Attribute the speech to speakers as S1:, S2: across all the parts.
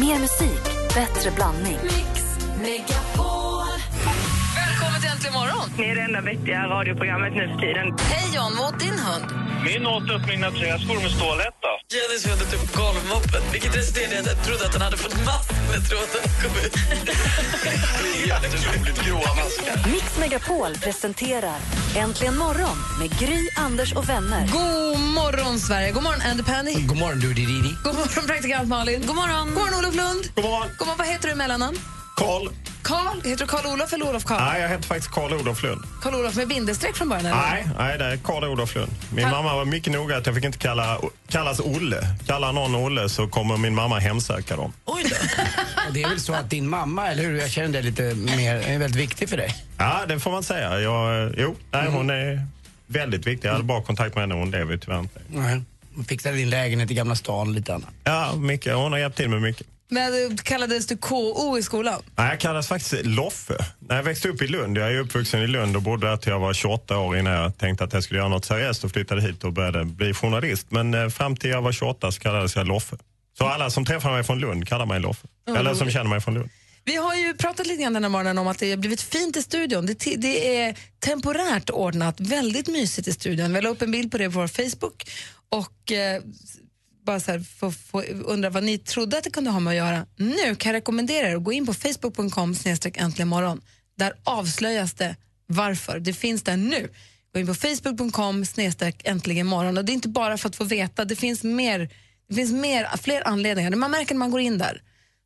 S1: Mer musik, bättre blandning.
S2: Välkommen till Äntligen morgon!
S3: Ni är det enda vettiga radioprogrammet nu för tiden.
S2: Hej John, vad åt din hund?
S4: Min åt upp mina träskor med stålhätta.
S5: Jennys hund är typ golvmoppen, vilket resulterade i att jag trodde att han hade fått mask med tråden och kom ut.
S4: Jätteroligt gråa maskar.
S1: Mix Megapol presenterar Äntligen morgon med Gry, Anders och vänner.
S2: God morgon Sverige, god morgon Andy Pandy.
S6: God morgon, du Dididi.
S2: God morgon praktikant Malin. God morgon. God morgon Olof Lund. God morgon. God morgon vad heter du i mellannamn?
S7: Karl.
S2: Karl, heter du Karl-Olof eller Olof Karl?
S7: Nej, jag heter faktiskt Karl-Olof Lund.
S2: Karl-Olof med bindestreck från början eller?
S7: Nej, nej, det är Karl-Olof Lund. Min
S2: Karl-
S7: mamma var mycket noga att jag fick inte kalla, kallas Olle. Kallar någon Olle så kommer min mamma hemsöka dem.
S5: Oj då.
S6: Och Det är väl så att din mamma, eller hur? Jag känner dig lite mer, är väldigt viktig för dig.
S7: Ja, det får man säga. Jag, eh, jo, nej, hon är väldigt viktig. Jag hade bra kontakt med henne. Hon lever ju tyvärr inte.
S6: Nej. Hon fixade din lägenhet i Gamla stan och lite annat.
S7: Ja, mycket. Hon har hjälpt till med mycket.
S2: Men eh, kallades du KO i skolan?
S7: Nej, jag kallas faktiskt Loffe. När jag växte upp i Lund, jag är uppvuxen i Lund och bodde där till jag var 28 år innan jag tänkte att jag skulle göra något seriöst och flyttade hit och började bli journalist. Men eh, fram till jag var 28 så kallades jag Loffe. Så alla som träffar mig från Lund kallar mig Loffe. Eller som känner mig från Lund.
S2: Vi har ju pratat lite grann den här morgonen om att det har blivit fint i studion. Det, ti- det är temporärt ordnat, väldigt mysigt i studion. Vi la upp en bild på det på vår Facebook och eh, bara så här, få, få, undra vad ni trodde att det kunde ha med att göra. Nu kan jag rekommendera er att gå in på facebook.com snedstreck äntligen morgon. Där avslöjas det varför. Det finns där nu. Gå in på facebook.com snedstreck äntligen morgon. Och det är inte bara för att få veta, det finns, mer, det finns mer, fler anledningar. Man märker när man går in där.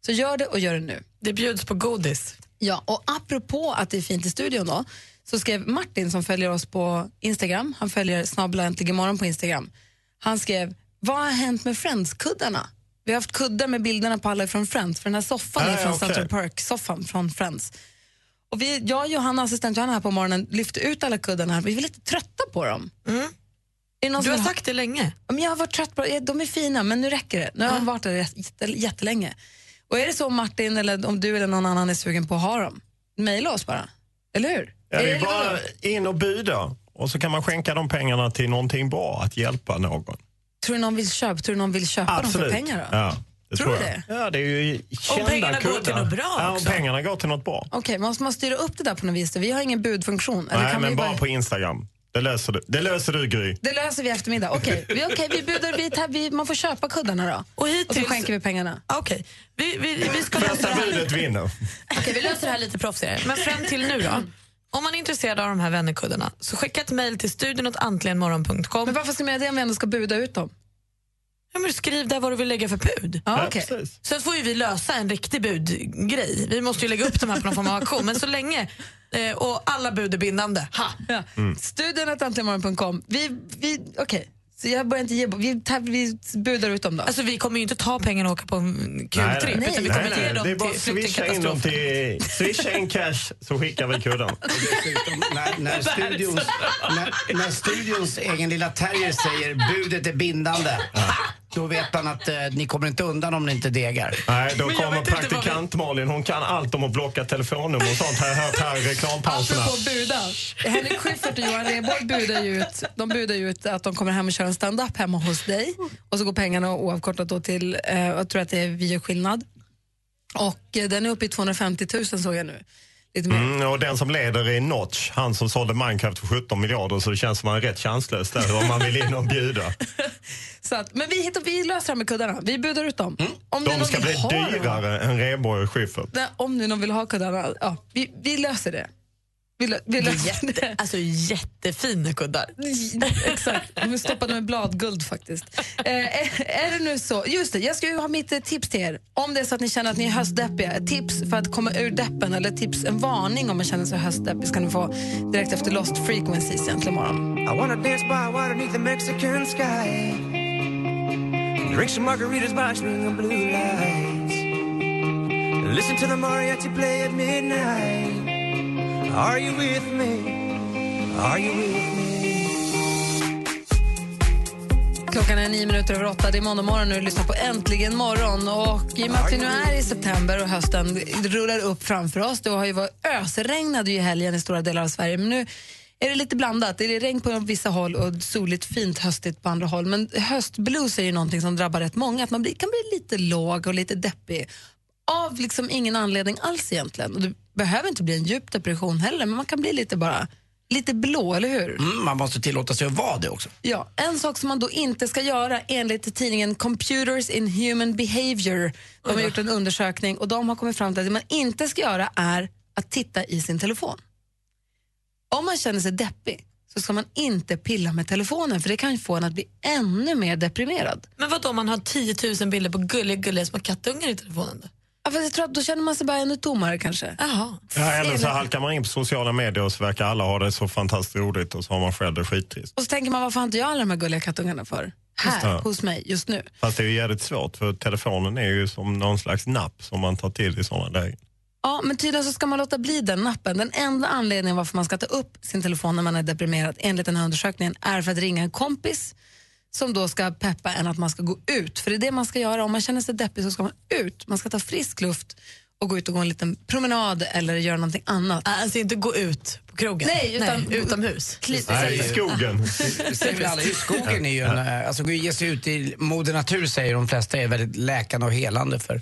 S2: Så gör det och gör det nu.
S5: Det bjuds på godis.
S2: Ja, och apropå att det är fint i studion då, så skrev Martin som följer oss på Instagram, han följer snabbla äntligen morgon på Instagram, han skrev vad har hänt med Friends-kuddarna? Vi har haft kuddar med bilderna på alla från Friends, för den här soffan är
S7: Ah,
S2: från
S7: okej.
S2: Central Park-soffan från Friends. Och vi, jag, Johanna, assistent Johanna här på morgonen lyfte ut alla kuddarna här, vi var lite trötta på dem. Är det någon
S5: Mm. Du
S2: som
S5: har
S2: vill ha-
S5: sagt det länge.
S2: Ja, men jag har varit trött på ja, De är fina, men nu räcker det. Nu har de varit där jätte, jättelänge. Och är det så Martin, eller om du eller någon annan är sugen på att ha dem, mejla oss bara. Eller hur?
S7: Ja,
S2: Är
S7: det är
S2: det
S7: bara
S2: relevant?
S7: in och buda. Och så kan man skänka de pengarna till någonting bra, att hjälpa någon.
S2: Tror du någon vill köpa, tror du någon vill köpa dem för pengar? Då?
S7: Ja, det
S2: Tror
S7: tror,
S2: du
S7: jag. Ja, det är ju kända
S5: pengarna går till
S7: kuddar.
S5: något bra
S7: Ja, om
S5: också.
S7: pengarna går till något bra.
S2: Okej, man måste man styra upp det där på något vis. Vi har ingen budfunktion. Eller
S7: Nej,
S2: kan vi
S7: men
S2: bara-
S7: bara på Instagram. Det löser du, det löser du Gry.
S2: Det löser vi i eftermiddag. Okej, vi, okej, vi budar, vi, tar- vi, man får köpa kuddarna då.
S5: Och hittills-
S2: så skänker vi pengarna.
S5: Ah, Okej, vi, vi, vi ska lösa det
S7: Bästa
S5: här.
S7: budet vinner.
S5: Okej, vi löser det här lite proffsigare. Men fram till nu då. Om man är intresserad av de här vännerkuddarna så skicka ett mejl till studion
S2: Men
S5: antligenmorgon.com.
S2: varför ska man göra det om vi ändå ska buda ut dem?
S5: Ja, men skriv där vad du vill lägga för bud.
S2: Ja,
S7: Ja,
S2: okej.
S7: precis.
S5: Sen får ju vi lösa en riktig budgrej. Vi måste ju lägga upp de här på någon form av auktion. Men så länge, eh, och alla bud är bindande. Ha.
S2: Ja. Mm. Studion att antligenmorgon.com. Vi, vi, okej, så jag börjar inte ge, vi, tar, vi budar ut dem då.
S5: Alltså vi kommer ju inte ta pengarna och åka på en kul
S7: Nej,
S5: trip.
S7: nej.
S5: Utan vi
S7: Nej,
S5: kommer
S7: nej,
S5: ge dem
S7: det är bara
S5: till
S7: att swisha in dem
S5: flyktingkatastrofen.
S7: till... Swisha in cash så skickar vi kudden.
S6: Dessutom, när, när, studions, när, när studions egen lilla terrier säger budet är bindande, då vet man att eh, ni kommer inte undan om ni inte degar.
S7: Nej, då
S5: Men jag
S7: kommer
S5: vet inte vad vi-
S7: praktikant Malin. Hon kan allt om att blocka telefonnummer och sånt. Har jag hört här i reklampauserna.
S2: Apropå buda. Henrik Schyffert och Johan Rheborg budar ju ut, de budar ju ut att de kommer hem och kör en stand-up hemma hos dig. Och så går pengarna oavkortat då till, eh, jag tror att det är Vi gör skillnad. Och eh, den är uppe i 250 000 såg jag nu. Lite mer.
S7: Mm, och den som leder är Notch, han som sålde Minecraft för 17 miljarder så det känns som han är rätt chanslös där om man vill in och bjuda.
S2: Så att, men vi, hittar, vi löser det här med kuddarna. Vi budar ut dem. Om nu
S7: Mm. De
S2: någon
S7: ska
S2: vill
S7: bli
S2: ha dem.
S7: dyrare än Rheborg och Schyffert.
S2: Nej, Om nu någon vill ha kuddarna, ja, vi, vi löser det. Vi, lö, vi
S5: Det
S2: löser
S5: är Jätte,
S2: det.
S5: alltså jättefina kuddar.
S2: Exakt, de är stoppade med bladguld faktiskt. Eh, är- är det nu så? Just det, jag ska ju ha mitt eh, tips till er. Om det är så att ni känner att ni är höstdeppiga, ett tips för att komma ur deppen eller tips, en varning om man känner sig höstdeppig ska ni få direkt efter Lost Frequencies egentligen imorgon.
S8: I wanna dance by water beneath the Mexican sky. Drink some margaritas by string of blue lights. Listen to the mariachi play at midnight. Are you with me? Are you with me?
S2: Klockan är nio minuter över åtta, det är måndag morgon och du lyssnar på Äntligen morgon. Och I och med att vi nu är i september och hösten rullar upp framför oss, det har ju varit ösregnade ju i helgen i stora delar av Sverige, men nu är det lite blandat. Är det regn på vissa håll och soligt, fint, höstigt på andra håll. Men höstblues är ju någonting som drabbar rätt många. Att man blir, kan bli lite låg och lite deppig av liksom ingen anledning alls egentligen. Och det behöver inte bli en djup depression heller, men man kan bli lite bara lite blå, eller hur?
S6: Mm, man måste tillåta sig att vara det också.
S2: Ja, en sak som man då inte ska göra enligt tidningen Computers in Human Behavior. De har gjort en undersökning och de har kommit fram till att det man inte ska göra är att titta i sin telefon. Om man känner sig deppig så ska man inte pilla med telefonen för det kan ju få en att bli ännu mer deprimerad.
S5: Men vad om man har 10 000 bilder på gulliga, gulliga små kattungar i telefonen? Då?
S2: Ja, fast Jag tror att då känner man sig bara ännu tommare kanske.
S5: Jaha.
S7: Ja, eller så halkar man in på sociala medier och så verkar alla ha det så fantastiskt roligt och så har man själv det skittrist.
S2: Och så tänker man, varför har inte jag alla de här gulliga kattungarna för? Här,
S7: Ja.
S2: hos mig, just nu.
S7: Fast det är ju jävligt svårt för telefonen är ju som någon slags napp som man tar till i sådana lägen.
S2: Ja, men tydligen så ska man låta bli den nappen. Den enda anledningen varför man ska ta upp sin telefon när man är deprimerad enligt den här undersökningen är för att ringa en kompis som då ska peppa en att man ska gå ut. För det är det man ska göra. Om man känner sig deppig så ska man ut. Man ska ta frisk luft och gå ut och gå en liten promenad eller göra någonting annat.
S5: Alltså inte gå ut på krogen.
S2: Nej, utan-
S5: utomhus.
S2: Kli-
S7: Nej, i skogen.
S6: Det ser vi alla. i Skogen är ju en, eh, alltså, gå- ge sig ut i moder natur säger de flesta är väldigt läkande och helande för,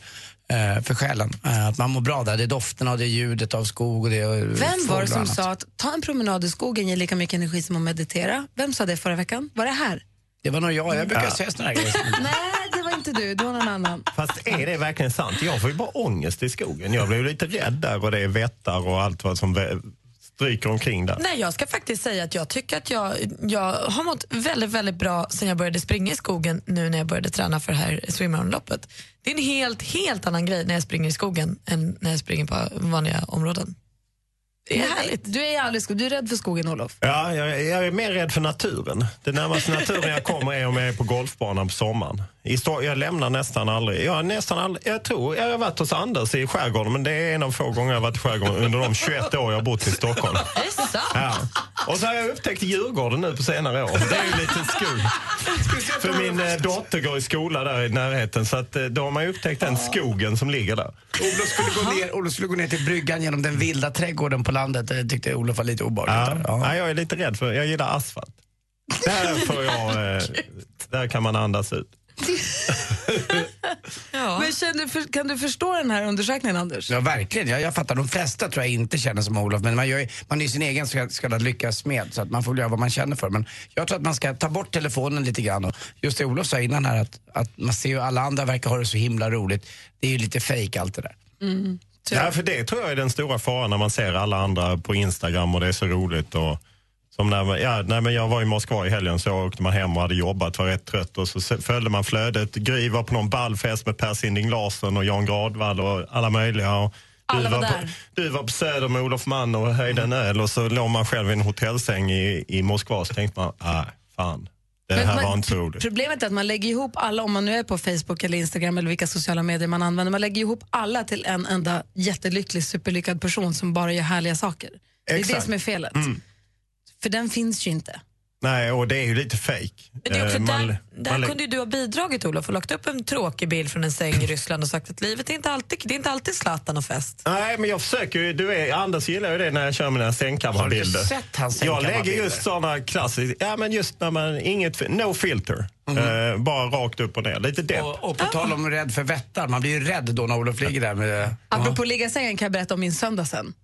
S6: eh, för själen. Eh, Att man mår bra där. Det är dofterna och det är ljudet av skog och det är eh,
S2: Vem
S6: fåglar
S2: var
S6: och
S2: det som
S6: annat.
S2: sa att ta en promenad i skogen ger lika mycket energi som att meditera? Vem sa det förra veckan? Var det här?
S6: Det var nog jag. Jag brukar säga såna här grejer.
S2: Nej, det var inte du. Det var någon annan.
S7: Fast är det verkligen sant? Jag får ju bara ångest i skogen. Jag blir ju lite rädd där och det är vättar och allt vad som vä- stryker omkring där.
S5: Nej, jag ska faktiskt säga att jag tycker att jag, jag har mått väldigt, väldigt bra sen jag började springa i skogen nu när jag började träna för det här swimrunloppet. Det är en helt, helt annan grej när jag springer i skogen än när jag springer på vanliga områden. Det är härligt.
S2: Du är, aldrig, sko- du är rädd för skogen, Olof.
S7: Ja, jag, jag är mer rädd för naturen. Det närmaste naturen jag kommer är om jag är på golfbanan på sommaren. I Sto- jag lämnar nästan aldrig. Jag, har nästan aldrig, jag tror jag har varit hos Anders i skärgården men det är en av få gånger jag har varit i skärgården under de 21 år jag har bott i Stockholm.
S5: Det är sant.
S7: Ja. Och så har jag upptäckt Djurgården nu på senare år. Det är ju lite skog. För min eh, dotter går i skola där i närheten så att, eh, då har man ju upptäckt den skogen som ligger där.
S6: Olof skulle, gå ner, Olof skulle gå ner till bryggan genom den vilda trädgården på landet. Det tyckte Olof var lite
S7: Ja.
S6: obehagligt. Ja.
S7: Ja, jag är lite rädd för, jag gillar asfalt. Där, får jag, eh, där kan man andas ut.
S5: Ja.
S2: Men känner, du- för- kan du förstå den här undersökningen, Anders?
S6: Ja, verkligen. Jag, jag fattar. De flesta tror jag inte känner som Olof, men man, gör, ju- man är ju sin egen så kallad lyckas med så att man får väl göra vad man känner för. Men jag tror att man ska ta bort telefonen lite grann. Och just det Olof sa innan här, att, att man ser ju alla andra verkar ha det så himla roligt. Det är ju lite fejk allt det där.
S7: Ja, för det tror jag är den stora faran när man ser alla andra på Instagram och det är så roligt. Och, som när, man- ja, nej, men jag var i Moskva i helgen så åkte man hem och hade jobbat, var rätt trött och så se- följde man flödet. Gry var på någon ballfest med Per Sinding Larsson och Jan Gradvall och alla möjliga. Och du,
S5: Alla var
S7: på,
S5: där.
S7: du var på Söder med Olof Mann och höjde en öl och så låg man själv i en hotellsäng i, i Moskva så tänkte man, nej fan, det
S2: Men
S7: här
S2: man-
S7: var inte så roligt.
S2: Problemet är att man lägger ihop alla, om man nu är på Facebook eller Instagram eller vilka sociala medier man använder, man lägger ihop alla till en enda jättelycklig, superlyckad person som bara gör härliga saker. Det är det
S7: Exakt. Mm.
S2: som är felet. För den finns ju inte.
S7: Nej, och det är ju lite fejk.
S5: Men det är också
S7: Eh, man-
S5: där, där
S7: man-
S5: kunde ju du ha bidragit Olof och lagt upp en tråkig bild från en säng i Ryssland och sagt att livet är inte alltid, det är inte alltid Zlatan och fest.
S7: Nej, men jag försöker ju. Du är, Anders gillar ju det när jag kör mina
S6: Har du
S7: sängkammarbilder.
S6: inte sett hans
S7: Jag lägger
S6: sängkammarbilder?
S7: just sådana klassiska, ja men just när man, inget, no filter. Eh, bara rakt upp och ner, lite depp.
S6: Mhm. Och, och på tal om rädd för vättar, man blir ju rädd då när Olof ligger där med...
S2: Apropå ligga i sängen kan jag berätta om min söndag sen.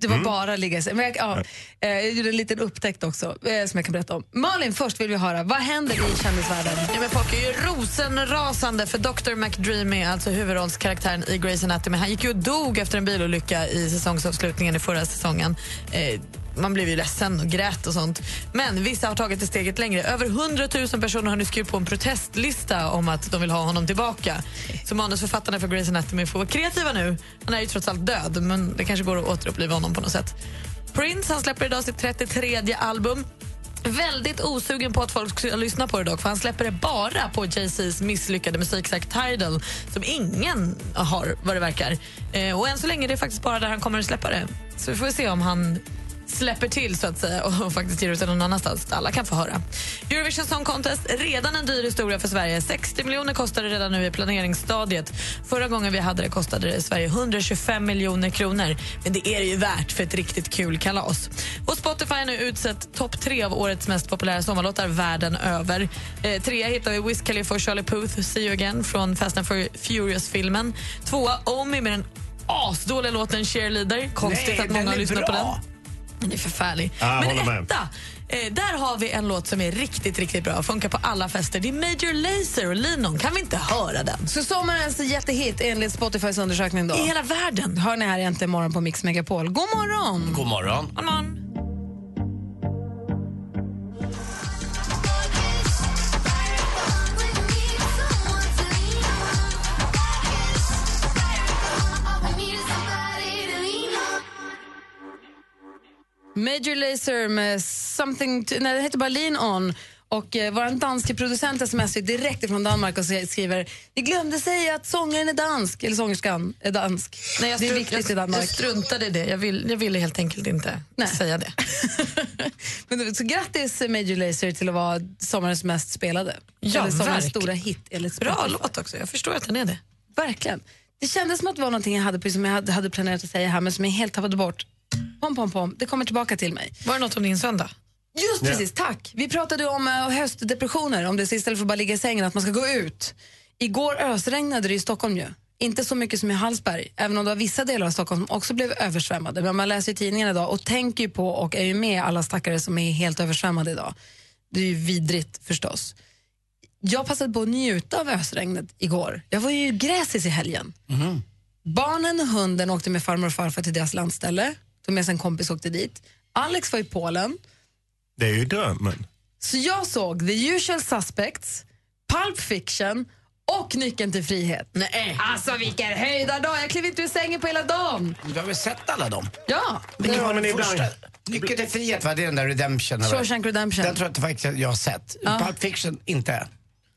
S2: Det
S7: Mm.
S2: var bara ligga i sängen. Men jag, ja, eh, jag gjorde en liten upptäckt också eh, som jag kan berätta om. Malin, först vill vi höra, vad händer i kändisvärlden?
S5: Ja, men folk är ju rosenrasande för Dr. McDreamy, alltså huvudrollskaraktären i Grey's Anatomy. Han gick ju och dog efter en bilolycka i säsongsavslutningen i förra säsongen. Eh, man blev ju ledsen och grät och sånt. Men vissa har tagit det steget längre. Över 100 000 personer har nu skrivit på en protestlista om att de vill ha honom tillbaka. Så manusförfattarna för Grey's Anatomy får vara kreativa nu. Han är ju trots allt död, men det kanske går att återuppliva honom på något sätt. Prince han släpper idag sitt 33 album. Väldigt osugen på att folk ska lyssna på det dock, för han släpper det bara på Jay-Z's misslyckade musiksack Tidal som ingen har, vad det verkar. Eh, och än så länge är det faktiskt bara där han kommer att släppa det. Så vi får se om han släpper till så att säga och faktiskt ger ut den någon annanstans. Alla kan få höra. Eurovision Song Contest, redan en dyr historia för Sverige. 60 miljoner kostar det redan nu i planeringsstadiet. Förra gången vi hade det kostade det Sverige 125 miljoner kronor. Men det är det ju värt för ett riktigt kul kalas. Och Spotify har nu utsett topp tre av årets mest populära sommarlåtar världen över. Eh, trea hittar vi Wiz Khalifa och Charlie Puth, See You Again från Fast and Fur- Furious-filmen. Tvåa Omi med den asdåliga låten Cheerleader. Konstigt
S6: Nej,
S5: att
S6: den
S5: många
S6: är
S5: har lyssnat på
S6: bra.
S5: den. Den är förfärlig.
S7: Ja,
S5: Men
S7: håller med.
S5: etta, eh, där har vi en låt som är riktigt, riktigt bra. Funkar på alla fester. Det är Major Lazer och Linon. Kan vi inte höra den?
S2: Så sommarens jättehit enligt Spotifys undersökning då.
S5: I hela världen.
S2: Hör ni här egentligen imorgon på Mix Megapol. God morgon!
S6: God morgon.
S5: God morgon.
S2: Major Lazer med something... To, nej, det heter bara Lean On. Och eh, vår danske producent smsar ju direkt från Danmark och se- skriver Ni glömde säga att sångaren är dansk, eller sångerskan är dansk. Nej, det är
S5: strunt-
S2: viktigt i
S5: jag,
S2: Danmark.
S5: Jag struntade i det. Jag, vill, jag ville helt enkelt inte
S2: Nej.
S5: säga det.
S2: Men, så grattis Major Lazer till att vara sommarens mest spelade.
S5: Ja,
S2: eller sommarens
S5: verkligen.
S2: stora hit. Eller
S5: Bra låt också. Jag förstår att den är det.
S2: Verkligen. Det kändes som att det var någonting jag hade, precis som jag hade- hade planerat att säga här men som jag helt tappade bort. Pom, pom, pom. Det kommer tillbaka till mig.
S5: Var det något om din söndag?
S2: Just precis, tack. Vi pratade om eh, höstdepressioner, om det så istället för att bara ligga i sängen, att man ska gå ut. Igår ösregnade det i Stockholm ju. Inte så mycket som i Hallsberg, även om det var vissa delar av Stockholm som också blev översvämmade. Men man läser ju tidningarna idag och tänker ju på och är ju med alla stackare som är helt översvämmade idag. Det är ju vidrigt förstås. Jag passade på att njuta av ösregnet igår. Jag var ju gräsis i helgen. Barnen och hunden åkte med farmor och farfar till deras landställe. Tog med sig en kompis och åkte dit. Alex var i Polen.
S7: Det är ju drömmen.
S2: Så jag såg The Usual Suspects, Pulp Fiction och Nyckeln till frihet.
S5: Nej.
S2: Alltså vilken höjdardag! Jag klev inte ur sängen på hela dagen.
S6: Du har väl sett alla dem?
S2: Ja,
S7: Ja, men ibland-
S6: Första, Lycka till frihet, va? Det är den där Redemption. eller?
S2: Shawshank Redemption.
S6: Den tror jag inte faktiskt jag har sett. Pulp Fiction, inte.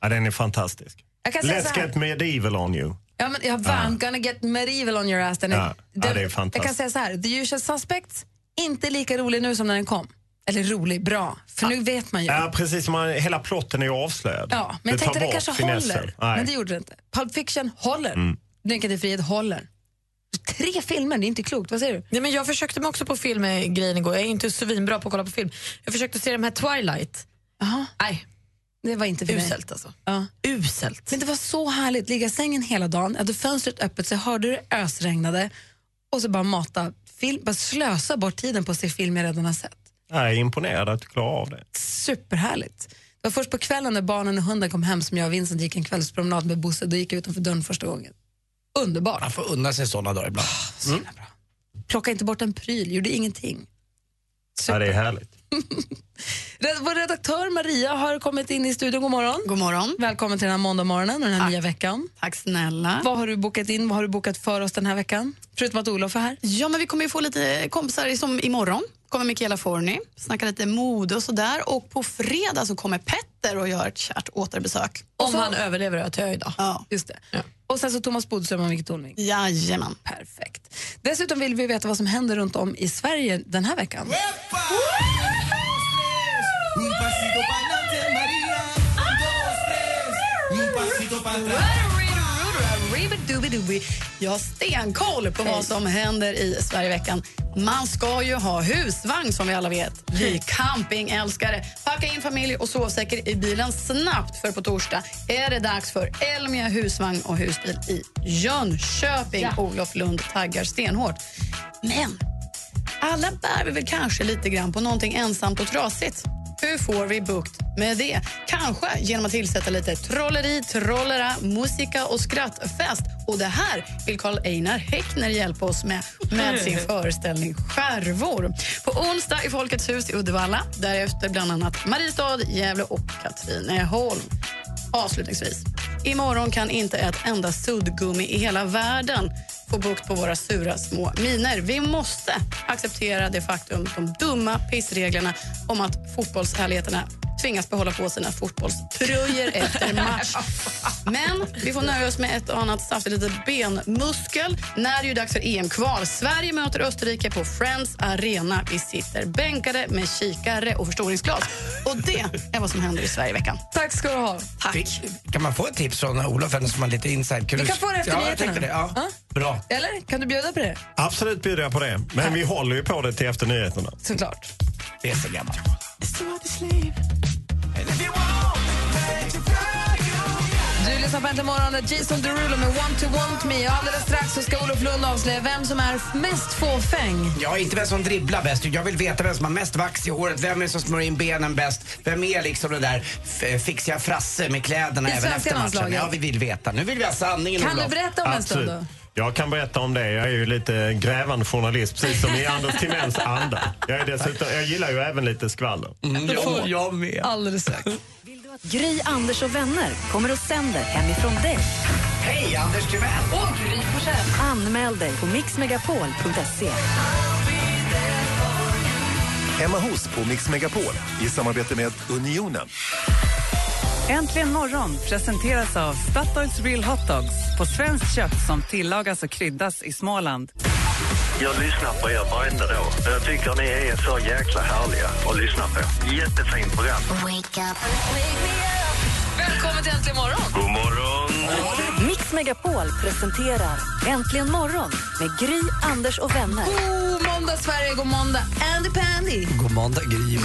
S7: Ja, den är fantastisk.
S2: Jag kan säga så
S7: Let's
S2: här.
S7: get medieval on you.
S2: Ja, men jag var I'm gonna get medieval on your ass. Den är,
S7: Ja, ja, det är
S2: Jag kan
S7: fantastiskt.
S2: säga så här, The Usual Suspects, inte lika rolig nu som när den kom. Eller rolig, bra. För nu vet man ju.
S7: Ja, precis. Man, hela plotten är ju avslöjad.
S2: Ja, men jag
S7: tar
S2: tänkte det
S7: bort
S2: kanske
S7: finessen.
S2: håller.
S7: Nej.
S2: Men det gjorde det inte. Pulp Fiction håller. Nyckeln till frihet håller. Tre filmer, det är inte klokt. Vad säger du?
S5: Nej, men jag försökte mig också på filmgrejen igår. Jag är inte svinbra på att kolla på film. Jag försökte se de här Twilight.
S2: Jaha,
S5: Nej,
S2: det var inte för mig.
S5: uselt alltså.
S2: Ja.
S5: Uselt.
S2: Men det var så härligt, ligga i sängen hela dagen, jag hade fönstret öppet så jag hörde hur det ösregnade och så bara mata film, bara slösa bort tiden på att se film jag redan har sett.
S7: Jag är imponerad att du klarar av det.
S2: Superhärligt. Det var först på kvällen när barnen och hunden kom hem som jag och Vincent gick en kvällspromenad med Bosse, då gick jag utanför dörren första gången. Underbart.
S6: Man får unna sig sådana dagar ibland.
S2: Plocka inte bort en pryl, gjorde ingenting.
S7: Ja, det är härligt.
S2: Red- Vår redaktör Maria har kommit in i studion, god morgon.
S9: God morgon.
S2: Välkommen till den här måndagmorgonen och den här nya veckan.
S9: Tack snälla.
S2: Vad har du bokat in, vad har du bokat för oss den här veckan? Förutom att Olof är här.
S9: Ja, men vi kommer ju få lite kompisar som imorgon kommer Michaela Forni, snacka lite mode och sådär. Och på fredag så kommer Petter och gör ett kärt återbesök.
S5: Om han överlever att jag idag.
S9: Ja.
S2: Just det. Och sen så Thomas Bodström och Micke Tornving.
S9: Jajamän.
S2: Perfekt. Dessutom vill vi veta vad som händer runt om i Sverige den här veckan.
S9: Arribidubidubi. Jag har stenkoll på vad som händer i Sverigeveckan. Man ska ju ha husvagn som vi alla vet. Vi campingälskare. Packa in familj och sovsäckar i bilen snabbt för på torsdag är det dags för Elmia husvagn och husbil i Jönköping. Olof Lund taggar stenhårt. Men alla bär Ah, vi väl kanske lite grann på någonting ensamt och trasigt. Hur får vi bukt med det? Kanske genom att tillsätta lite trolleri, trollera, musika och skrattfest. Och det här vill Carl Einar Häckner hjälpa oss med med sin föreställning Skärvor. På onsdag i Folkets hus i Uddevalla. Därefter bland annat Mariestad, Gävle och Katrineholm. Avslutningsvis. Imorgon kan inte ett enda suddgummi i hela världen få bukt på våra sura små miner. Vi måste acceptera det faktum, de dumma pissreglerna om att fotbollshärligheterna tvingas behålla på sina fotbollströjor efter match. Men vi får nöja oss med ett och annat saftigt litet benmuskel när det är ju dags för EM-kval. Sverige möter Österrike på Friends Arena. Vi sitter bänkade med kikare och förstoringsglas. Och det är vad som händer i Sverige i veckan.
S2: Tack ska du ha.
S9: Tack!
S6: Kan man få ett tips från Olof, eller som har lite inside
S2: Vi kan få det efter
S6: ja, jag
S2: nyheterna.
S6: tänkte det. Ja.
S2: Ja.
S6: Bra.
S2: Eller? Kan du bjuda på det?
S7: Absolut bjuder jag på det, men vi håller ju på det till efter nyheterna.
S2: Såklart.
S6: Det är så gammalt.
S2: Du lyssnar på Äntligen morgon, Jason Derulo med Want to want me. Och Alldeles strax så ska Olof Lund avslöja vem som är f- mest fåfäng.
S6: Ja, inte vem som dribblar bäst. Jag vill veta vem som har mest vax i håret, vem är det som smörjer in benen bäst, vem är liksom den där f- fixiga frasse med kläderna
S2: I
S6: även
S2: svenska
S6: efter matchen.
S2: landslaget.
S6: Ja, vi vill veta. Nu vill vi ha sanningen,
S2: Kan
S6: Olof.
S2: du berätta om en stund då?
S7: Jag kan berätta om det. Jag är ju lite grävande journalist, precis som i Anders Timells anda. Jag, är dessutom, jag gillar ju även lite skvaller.
S6: Mm, jag, jag med.
S2: Alldeles strax.
S1: Vill du att Gry, Anders och vänner kommer och sänder hemifrån dig?
S6: Hej, Anders Timell!
S1: Anmäl dig på mixmegapol.se.
S10: Hemma hos på Mix Megapol i samarbete med Unionen.
S11: Äntligen morgon presenteras av Statoils Real Hot Dogs på svenskt kött som tillagas och kryddas i Småland.
S4: Jag lyssnar på er varenda dag. Jag tycker ni är så jäkla härliga att lyssna på. Jättefint program.
S2: Välkommen till Äntligen morgon.
S4: God morgon!
S1: Mix Megapol presenterar Äntligen morgon med Gry, Anders och vänner.
S2: God Oh, måndag Sverige, god måndag Andy Pandy.
S6: God måndag, Gry.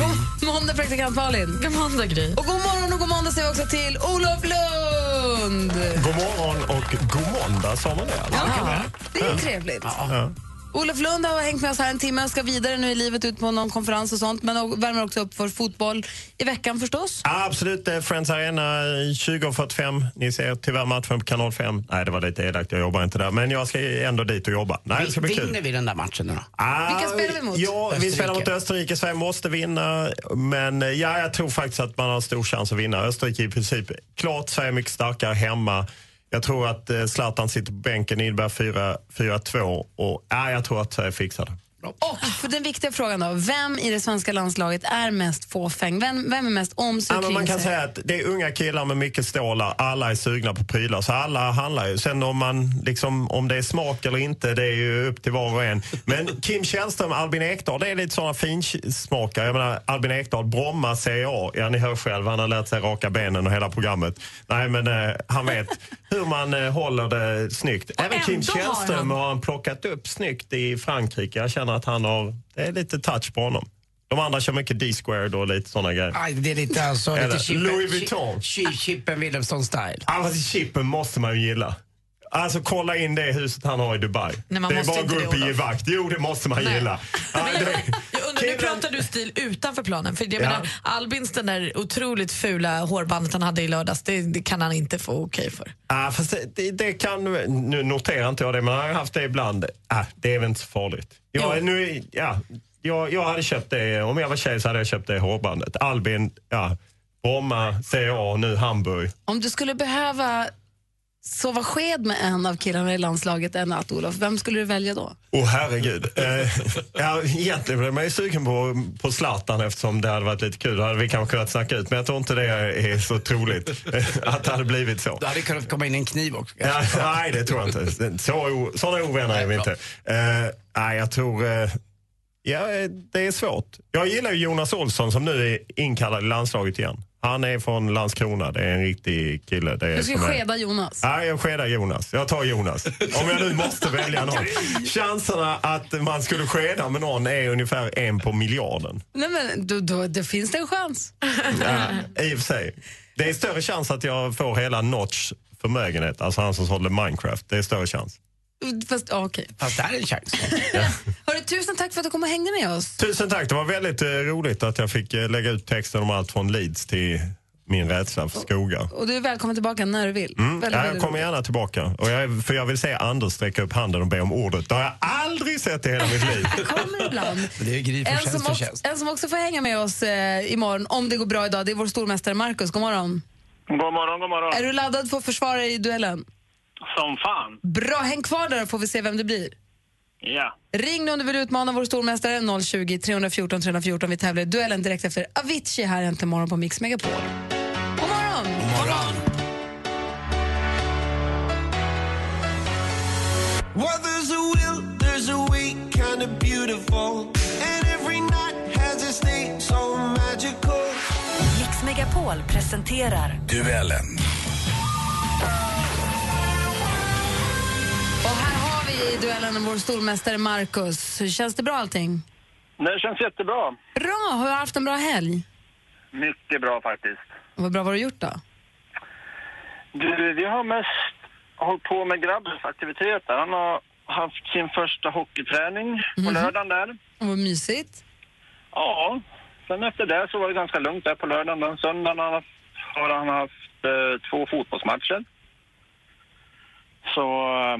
S2: God måndag praktikant Malin.
S5: God måndag, Gry.
S2: Och god morgon och god måndag säger vi också till Olof Lund.
S7: God morgon och god måndag, sa man det? alltså?
S2: Ja, det är ju trevligt.
S7: Ja.
S2: Olof Lund har hängt med oss här en timme och ska vidare nu i livet ut på någon konferens och sånt men och värmer också upp för fotboll i veckan förstås.
S7: Absolut, eh, Friends Arena i 20.45. Ni ser tyvärr matchen på kanal 5. Nej, det var lite elakt. Jag jobbar inte där. Men jag ska ändå dit och jobba. Nej, det ska bli kul.
S6: Vinner vi den där matchen nu då?
S7: Ah,
S2: Vilka spelar vi mot?
S7: Ja, vi
S6: Österrike.
S7: spelar mot Österrike. Sverige måste vinna. Men eh, ja, jag tror faktiskt att man har stor chans att vinna. Österrike i princip klart. Sverige är mycket starkare hemma. Jag tror att eh, Zlatan sitter på bänken. Det innebär 4 4-2. Och ja, jag tror att Sverige fixar det.
S2: Och för den viktiga frågan då, vem i det svenska landslaget är mest fåfäng? Vem, vem är mest om sig
S7: Ja,
S2: och
S7: men man
S2: kring
S7: kan
S2: sig?
S7: säga att det är unga killar med mycket stålar. Alla är sugna på prylar, så alla handlar ju. Sen om, man, liksom, om det är smak eller inte, det är ju upp till var och en. Men Kim Källström, Albin Ekdal, det är lite sådana finsmakare. Jag menar, Albin Ekdal, Bromma CA. Ja, ni hör själv, han har lärt sig raka benen och hela programmet. Nej, men eh, han vet hur man eh, håller det snyggt. Även Kim
S2: ändå har
S7: Källström
S2: han-
S7: har han plockat upp snyggt i Frankrike. Jag känner att han har, det är lite touch på honom. De andra kör mycket D-squared och lite sådana grejer.
S6: Aj, det är lite alltså...
S7: Eller
S6: Lite Chippen-
S7: Louis Vuitton.
S6: Chi- Chippen Wilhelmsson-style.
S7: Ja, fast chippen måste man ju gilla. Alltså kolla in det huset han har i Dubai.
S5: Nej,
S7: det
S5: man
S7: är
S5: måste
S7: bara att
S5: inte
S7: gå
S5: det,
S7: upp och ge
S5: Olof.
S7: vakt. Jo, det måste man gilla. Ja, det-
S5: Jag undrar, nu
S7: Killen-
S5: pratar du stil utanför planen. För jag
S7: Ja.
S5: menar, Albins den där otroligt fula hårbandet han hade i lördags, det, det kan han inte få okej för.
S7: Ja, fast det, det, det kan... Nu noterar inte jag det, men han har haft det ibland. Ja, det är väl inte så farligt. Jag, nu, ja, jag, jag hade köpt det. Om jag var tjej så hade jag köpt det hårbandet. Albin, ja. Bromma, CA, nu Hamburg.
S9: Om du skulle behöva sova sked med en av killarna i landslaget en natt, Olof, vem skulle du välja då?
S7: Åh herregud. Eh, ja, egentligen blev man ju sugen på, på Zlatan eftersom det hade varit lite kul. Då hade vi kanske kunnat snacka ut, men jag tror inte det är så troligt eh, att det hade blivit så.
S6: Då hade det kunnat komma in en kniv också.
S7: Ja, nej, det tror jag inte. Så, o- sådana ovänner är vi inte. Eh, nej, jag tror... Eh, ja, eh, det är svårt. Jag gillar ju Jonas Olsson som nu är inkallad i landslaget igen. Han är från Landskrona. Det är en riktig kille. Det är
S9: Du skulle
S7: som är-
S9: skeda Jonas.
S7: Nej, jag skedar Jonas. Jag tar Jonas. Om jag nu måste välja någon. Chanserna att man skulle skeda med någon är ungefär en på miljarden.
S9: Nej, men då, då, då finns det en chans.
S7: Ja, I och för sig. Det är större chans att jag får hela Notch förmögenhet, alltså han som sålde Minecraft. Det är större chans.
S9: Fast, ja, okej.
S6: Fast det här är en chans.
S9: Hörru, tusen tack för att du kom och hängde med oss.
S7: Tusen tack, det var väldigt eh, roligt att jag fick eh, lägga ut texten om allt från Leeds till min rädsla för skogar.
S9: Och du är välkommen tillbaka när du vill.
S7: Mm. Ja, jag kommer gärna tillbaka. Och jag, är- för jag vill se Anders sträcka upp handen och be om ordet. Det har jag aldrig sett i hela mitt liv.
S9: Kommer ibland.
S6: Det är ju Gry
S2: En
S6: förtjänst
S2: som,
S6: och
S2: också,
S6: tjänst.
S2: en som också får hänga med oss eh, imorgon, om det går bra idag, det är vår stormästare Markus. God morgon.
S4: God morgon, god morgon.
S2: Är du laddad för att försvara dig i duellen?
S4: Som fan.
S2: Bra, häng kvar där och får vi se vem det blir.
S12: Ja.
S2: Ring om du vill utmana vår stormästare 020 314 314. Vi tävlar i duellen direkt efter Avicii här äntligen morgon på Mix Megapol. God morgon!
S8: Well, there's a will, there's a way, kind of beautiful. And every night has its day, so magical.
S1: Mix Megapol presenterar
S6: Duellen.
S2: Och här har vi i duellen om vår stormästare Marcus. Hur Känns det bra allting?
S12: Det känns jättebra.
S2: Bra! Har du haft en bra helg?
S12: Mycket bra faktiskt.
S2: Vad bra, vad har du gjort då?
S12: Du, vi har mest hållit på med grabbens aktiviteter. Han har haft sin första hockeyträning på lördagen där.
S2: Och Vad mysigt.
S12: Ja, sen efter det så var det ganska lugnt där på lördagen. Den söndagen har han haft, har han haft eh, två fotbollsmatcher. Så, eh,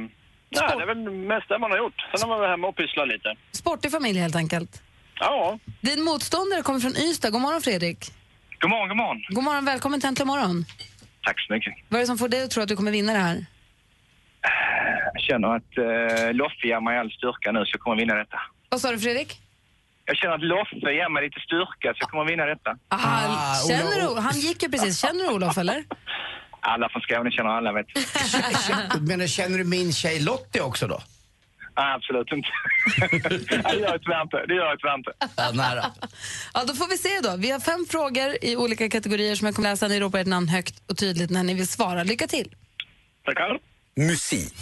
S12: ja, det är väl mest det man har gjort. Sen har man varit hemma och pysslat lite.
S2: Sportig familj helt enkelt.
S12: Ja.
S2: Din motståndare kommer från Ystad. God morgon Fredrik.
S13: God morgon, god morgon.
S2: God morgon, välkommen till Äntligen morgon.
S13: Tack så mycket.
S2: Vad är det som får dig att tro att du kommer vinna det här?
S13: Jag känner att eh, Loffe ger mig all styrka nu så jag kommer vinna detta.
S2: Vad sa du Fredrik?
S13: Jag känner att Loffe ger mig lite styrka så jag kommer vinna detta.
S2: Aha, känner du, han gick ju precis. Känner du Olof eller?
S13: Alla från Skåne känner alla vet du.
S6: Men känner du min tjej Lottie också då?
S13: Nej, Absolut inte. Nej, det gör jag tyvärr inte. Det gör jag tyvärr inte.
S6: nära.
S2: Ja, då får vi se då. Vi har fem frågor i olika kategorier som jag kommer läsa. Ni ropar ert namn högt och tydligt när ni vill svara. Lycka till!
S12: Tackar.
S10: Musik.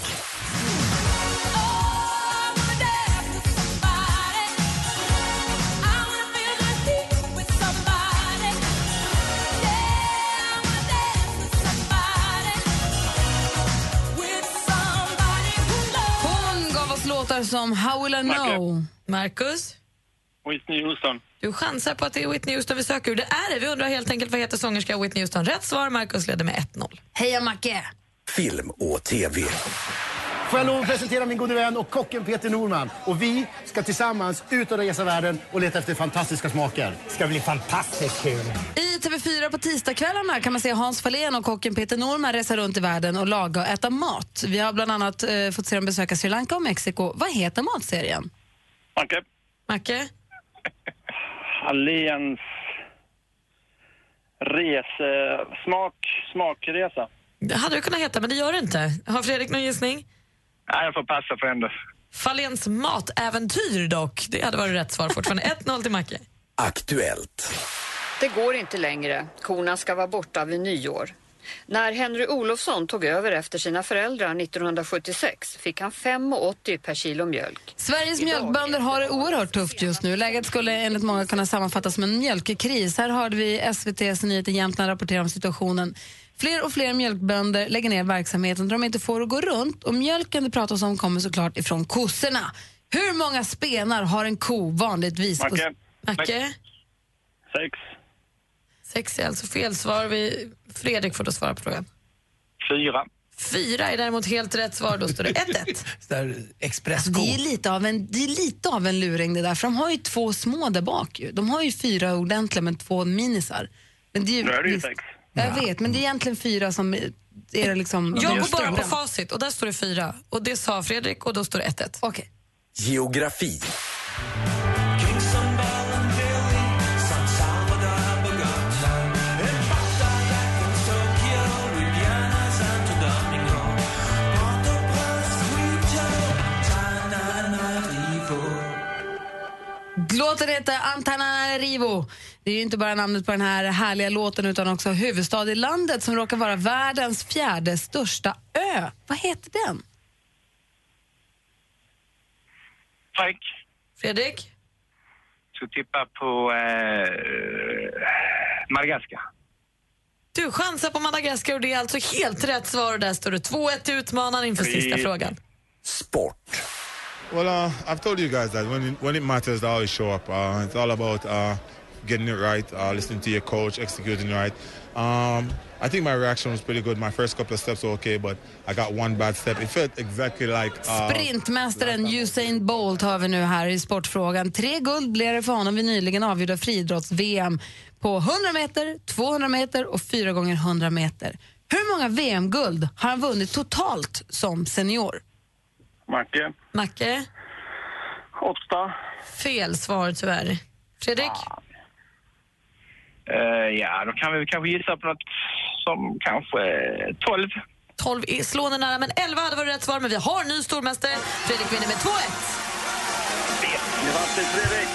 S2: Hon gav oss låtar som How will I know?
S5: Marcus?
S12: Whitney Houston.
S5: Du chansar på att det är Whitney Houston vi söker ur. Det är det. Vi undrar helt enkelt vad heter sångerskan Whitney Houston? Rätt svar. Marcus leder med 1-0.
S2: Heja Macke!
S14: Film och TV. Får jag lov att presentera min gode vän och kocken Peter Norman. Och vi ska tillsammans ut och resa världen och leta efter fantastiska smaker. ska bli fantastiskt kul.
S2: I TV4 på tisdagskvällarna kan man se Hans Fahlén och kocken Peter Norman resa runt i världen och laga och äta mat. Vi har bland annat eh, fått se dem besöka Sri Lanka och Mexiko. Vad heter matserien?
S12: Macke.
S2: Macke?
S12: Allians rese... Smak... Smakresa.
S5: Det hade du kunnat heta, men det gör det inte. Har Fredrik någon gissning?
S13: Nej, jag får passa för ändå.
S5: Faléns matäventyr dock. Det hade varit rätt svar fortfarande. 1-0 till Macke.
S14: Aktuellt.
S15: Det går inte längre. Korna ska vara borta vid nyår. När Henry Olofsson tog över efter sina föräldrar 1976 fick han 5,80 per kilo mjölk.
S2: Sveriges mjölkbönder har det oerhört tufft just nu. Läget skulle enligt många kunna sammanfattas som en mjölkkris. Här hörde vi SVTs nyheter Jämtland rapportera om situationen. Fler och fler mjölkbönder lägger ner verksamheten då de inte får att gå runt och mjölken det pratas om kommer såklart ifrån kossorna. Hur många spenar har en ko vanligtvis? på-
S5: Macke.
S2: Macke?
S12: Sex.
S5: Sex är alltså fel svar. Vi... Fredrik får då svara på frågan.
S13: Fyra.
S5: Fyra är däremot helt rätt svar. Då står det 1-1.
S6: Där
S2: Alltså,
S6: expressko.
S2: det, är lite av en, det är lite av en luring det där, för de har ju två små där bak. Ju. De har ju fyra ordentliga men två minisar. Men det är ju,
S5: Nu är det ju
S2: visst-
S5: sex.
S2: Jag vet, men det är egentligen fyra som är är det liksom...
S5: Jag går bara på facit och där står det fyra. Och det sa Fredrik och då står det 1-1.
S2: Okej.
S14: Geografi.
S2: Låten heter Antananarivo. Det är ju inte bara namnet på den här härliga låten utan också huvudstad i landet som råkar vara världens fjärde största ö. Vad heter den?
S13: Tack.
S5: Fredrik?
S13: Ska tippa på eh, Madagaskar.
S5: Du chansar på Madagaskar och det är alltså helt rätt svar. Och där står det 2-1 till utmanaren inför sista
S16: Vi-
S5: frågan.
S16: Well, uh, I've told you guys that when it, when it matters, I always show up. Uh, it's all about uh, getting it right, uh, listening to your coach, executing right. Um, I think my reaction was pretty good. My first couple of steps were okay, but I got one bad step. It felt exactly like. Uh,
S2: Sprintmästaren Usain Bolt har vi nu här i sportfrågan. Tre guld blev det för honom vid nyligen avgjorda friidrotts-VM på 100 meter, 200 meter och 4 gånger 100 meter. Hur många VM-guld har han vunnit totalt som senior?
S12: Macke.
S5: Macke?
S12: Åtta.
S5: Fel svar tyvärr. Fredrik?
S12: Eh, ja, då kan vi kanske gissa på något som kanske eh, 12.
S5: 12 är slående nära, men 11 hade varit rätt svar. Men vi har ny stormästare. Fredrik vinner med 2-1.
S12: Grattis Fredrik!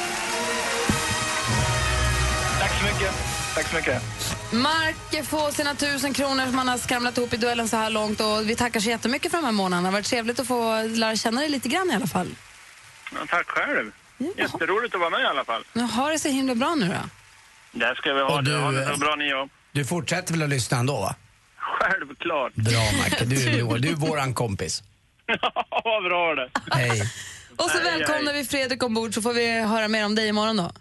S12: Tack så mycket. Tack så mycket.
S2: Mark får sina tusen kronor som han har skramlat ihop i duellen så här långt. Och vi tackar så jättemycket för de här månaderna. Det har varit trevligt att få lära känna dig lite grann i alla fall.
S12: Ja, tack själv. Jätteroligt att vara med i alla fall.
S2: Men har det så himla bra nu då.
S12: Där ska vi ha
S6: Och
S12: det.
S6: du,
S12: Ha
S6: eh,
S12: det så bra ni och.
S6: Du fortsätter väl att lyssna ändå va?
S12: Självklart.
S6: Bra Mark, du, är vår- du är våran kompis.
S12: Vad bra det.
S6: Hej.
S2: Och så
S12: Nej,
S2: välkomnar vi Fredrik ombord så får vi höra mer om dig imorgon då.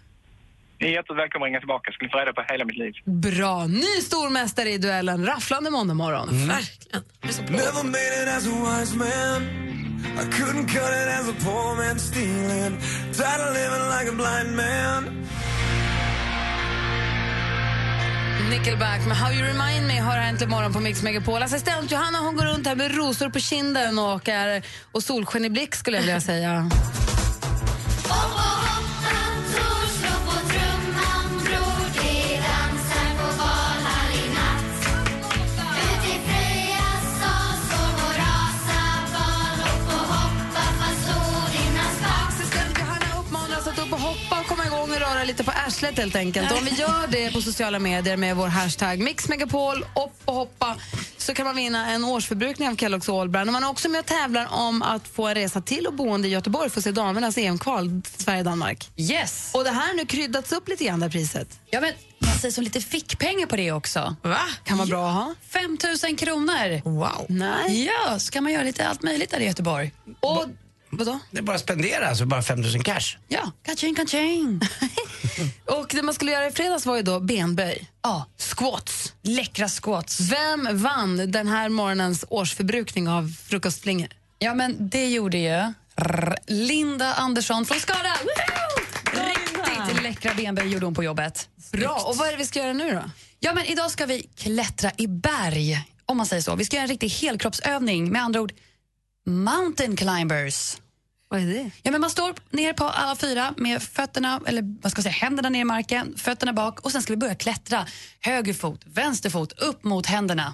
S12: Ni är jättevälkomna att ringa tillbaka. Jag skulle få reda på hela mitt liv.
S2: Bra. Ny stormästare i duellen. Rafflande måndag morgon.
S12: Mm.
S2: Verkligen.
S8: Never made it as a wise man. I couldn't cut it as a poor man stealing. Tired of living like a blind man.
S2: Nickelback med How You Remind Me hör här äntligen morgon på Mix Megapol. Assistent Johanna hon går runt här med rosor på kinden och, är, och solsken i blick skulle jag vilja säga. Assistent Johanna uppmanar oss att upp och hoppa och komma igång och röra lite på arslet helt enkelt. Och om vi gör det på sociala medier med vår hashtag Mix Megapol, upp och hoppa så kan man vinna en årsförbrukning av Kellogg's All Brand. Och man är också med och tävlar om att få en resa till och boende i Göteborg för att se damernas EM-kval Sverige-Danmark.
S17: Yes!
S2: Och det här har nu kryddats upp lite grann det här priset.
S17: Ja, men man säger som lite fickpengar på det också.
S2: Va? Kan vara bra att ha.
S17: 5 000 kronor.
S5: Wow.
S2: Nej.
S17: Ja, så kan man göra lite allt möjligt där i Göteborg.
S2: Och, vadå?
S6: Det är bara att spendera alltså, bara 5000 cash.
S17: Ja, kaching, kaching.
S2: Och det man skulle göra i fredags var ju då benböj. Ja. Squats.
S17: Läckra squats.
S2: Vem vann den här morgonens årsförbrukning av frukostflingor?
S17: Ja, men det gjorde ju rrr, Linda Andersson från Skara. Woho! Riktigt läckra benböj gjorde hon på jobbet.
S2: Bra. Och vad är det vi ska göra nu då?
S17: Ja, men idag ska vi klättra i berg, om man säger så. Vi ska göra en riktig helkroppsövning, med andra ord mountain climbers.
S2: Vad är det?
S17: Ja, men man står ner på alla fyra med fötterna, eller vad ska jag säga, händerna ner i marken, fötterna bak och sen ska vi börja klättra. Höger fot, vänster fot, upp mot händerna.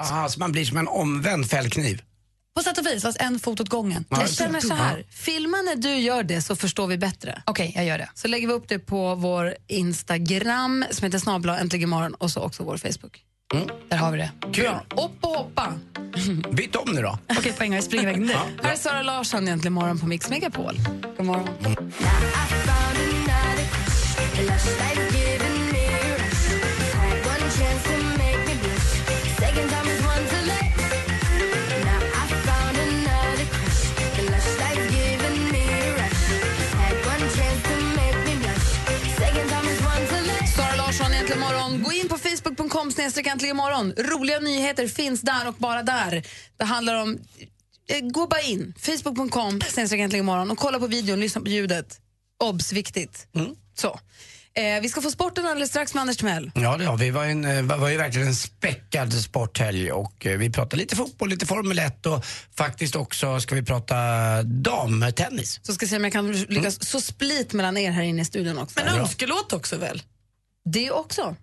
S6: Aha, så man blir som en omvänd fällkniv.
S17: På sätt och vis, fast en fot åt gången.
S6: Ja,
S2: Jag känner så
S6: Ja.
S2: här. Filma när du gör det så förstår vi bättre.
S17: Okej, jag gör det.
S2: Så lägger vi upp det på vår Instagram som heter snabla äntligen morgon och så också vår Facebook.
S17: Där har vi det.
S6: Kul.
S2: Upp och hoppa.
S6: Byt om nu då.
S17: Okej, poäng, jag springer iväg nu.
S2: Här är Sara Larsson egentligen morgon på Mix Megapol. God morgon. Sara Larsson, Äntligen morgon. Gå in på facebook.com snedstreck äntligen morgon. Roliga nyheter finns där och bara där. Det handlar om... eh, Gå bara in. Facebook.com snedstreck äntligen morgon och kolla på videon, lyssna på ljudet. Obs, viktigt.
S6: Mm.
S2: Så. Eh, vi ska få sporten alldeles strax med Anders Timell.
S6: Ja, det har vi. var ju, en, eh, var ju verkligen en späckad sporthelg och eh, vi pratar lite fotboll, lite Formel 1 och faktiskt också ska vi prata damtennis.
S2: Så ska jag se om jag kan lyckas så split mellan er här inne i studion också.
S6: Mm. Men Bra.
S2: önskelåt också väl? Det också.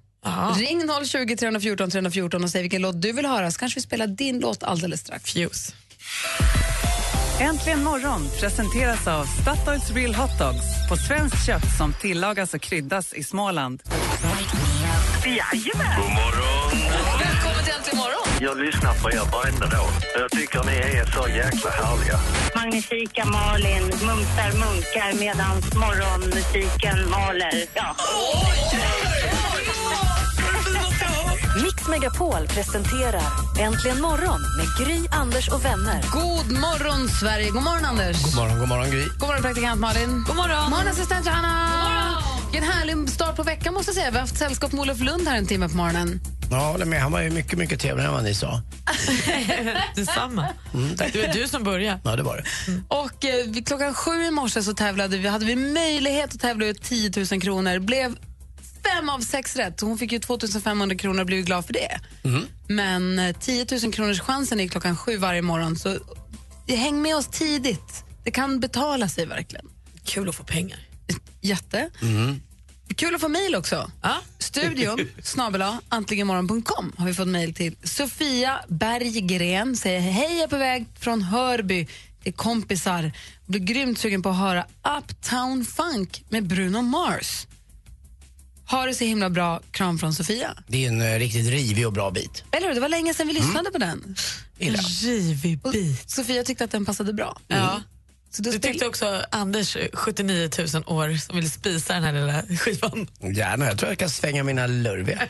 S2: Ring 020 314 314 och säg vilken låt du vill höra så kanske vi spelar din låt alldeles strax.
S5: Fuse.
S11: Äntligen morgon presenteras av Statoils Real Hot Dogs på svenskt kött som tillagas och kryddas i Småland.
S4: Jajamän! God morgon!
S2: Välkommen till Äntligen morgon!
S4: Jag lyssnar på er varenda dag. Jag tycker ni är så jäkla härliga.
S3: Magnifika Malin mumsar munkar medan morgonmusiken maler. Ja.
S1: Mix Megapol presenterar Äntligen morgon med Gry, Anders och vänner.
S2: God morgon, Sverige! God morgon, Anders!
S6: God morgon, god morgon Gry.
S2: God morgon, praktikant Malin. God morgon, morgon assistent Johanna. Vilken härlig start på veckan. måste jag säga. Vi har haft sällskap med Olof Lund här en timme på morgonen.
S6: Ja, jag håller med. Han var ju mycket, mycket trevligare än vad ni sa.
S5: Detsamma.
S6: Mm, tack.
S5: Det var du som började.
S6: Ja, det var det.
S2: Och eh, vid klockan sju i morse så tävlade vi, hade vi möjlighet att tävla ut 10 000 kronor. Blev fem av sex rätt. Hon fick ju 2 500 kronor och blev ju glad för det. Men eh, 10 000 kronors chansen är klockan sju varje morgon. Så eh, häng med oss tidigt. Det kan betala sig verkligen.
S5: Kul att få pengar.
S2: Jätte.
S5: Mm.
S2: Kul att få mejl också. Studion snabela antligenmorgon.com har vi fått mejl till. Sofia Berggren säger hej, jag är på väg från Hörby till kompisar. Blir grymt sugen på att höra Uptown Funk med Bruno Mars. Ha det så himla bra. Kram från Sofia.
S6: Det är ju en eh, riktigt rivig och bra bit.
S2: Eller hur? Det var länge sedan vi
S5: Mm.
S2: lyssnade på den.
S6: Gillar.
S5: Rivig
S2: bit. Sofia tyckte att den passade bra.
S5: Ja. du tyckte också Anders, 79 000 år, som ville spisa den här lilla skivan.
S6: Gärna, jag tror jag kan svänga mina lurviga.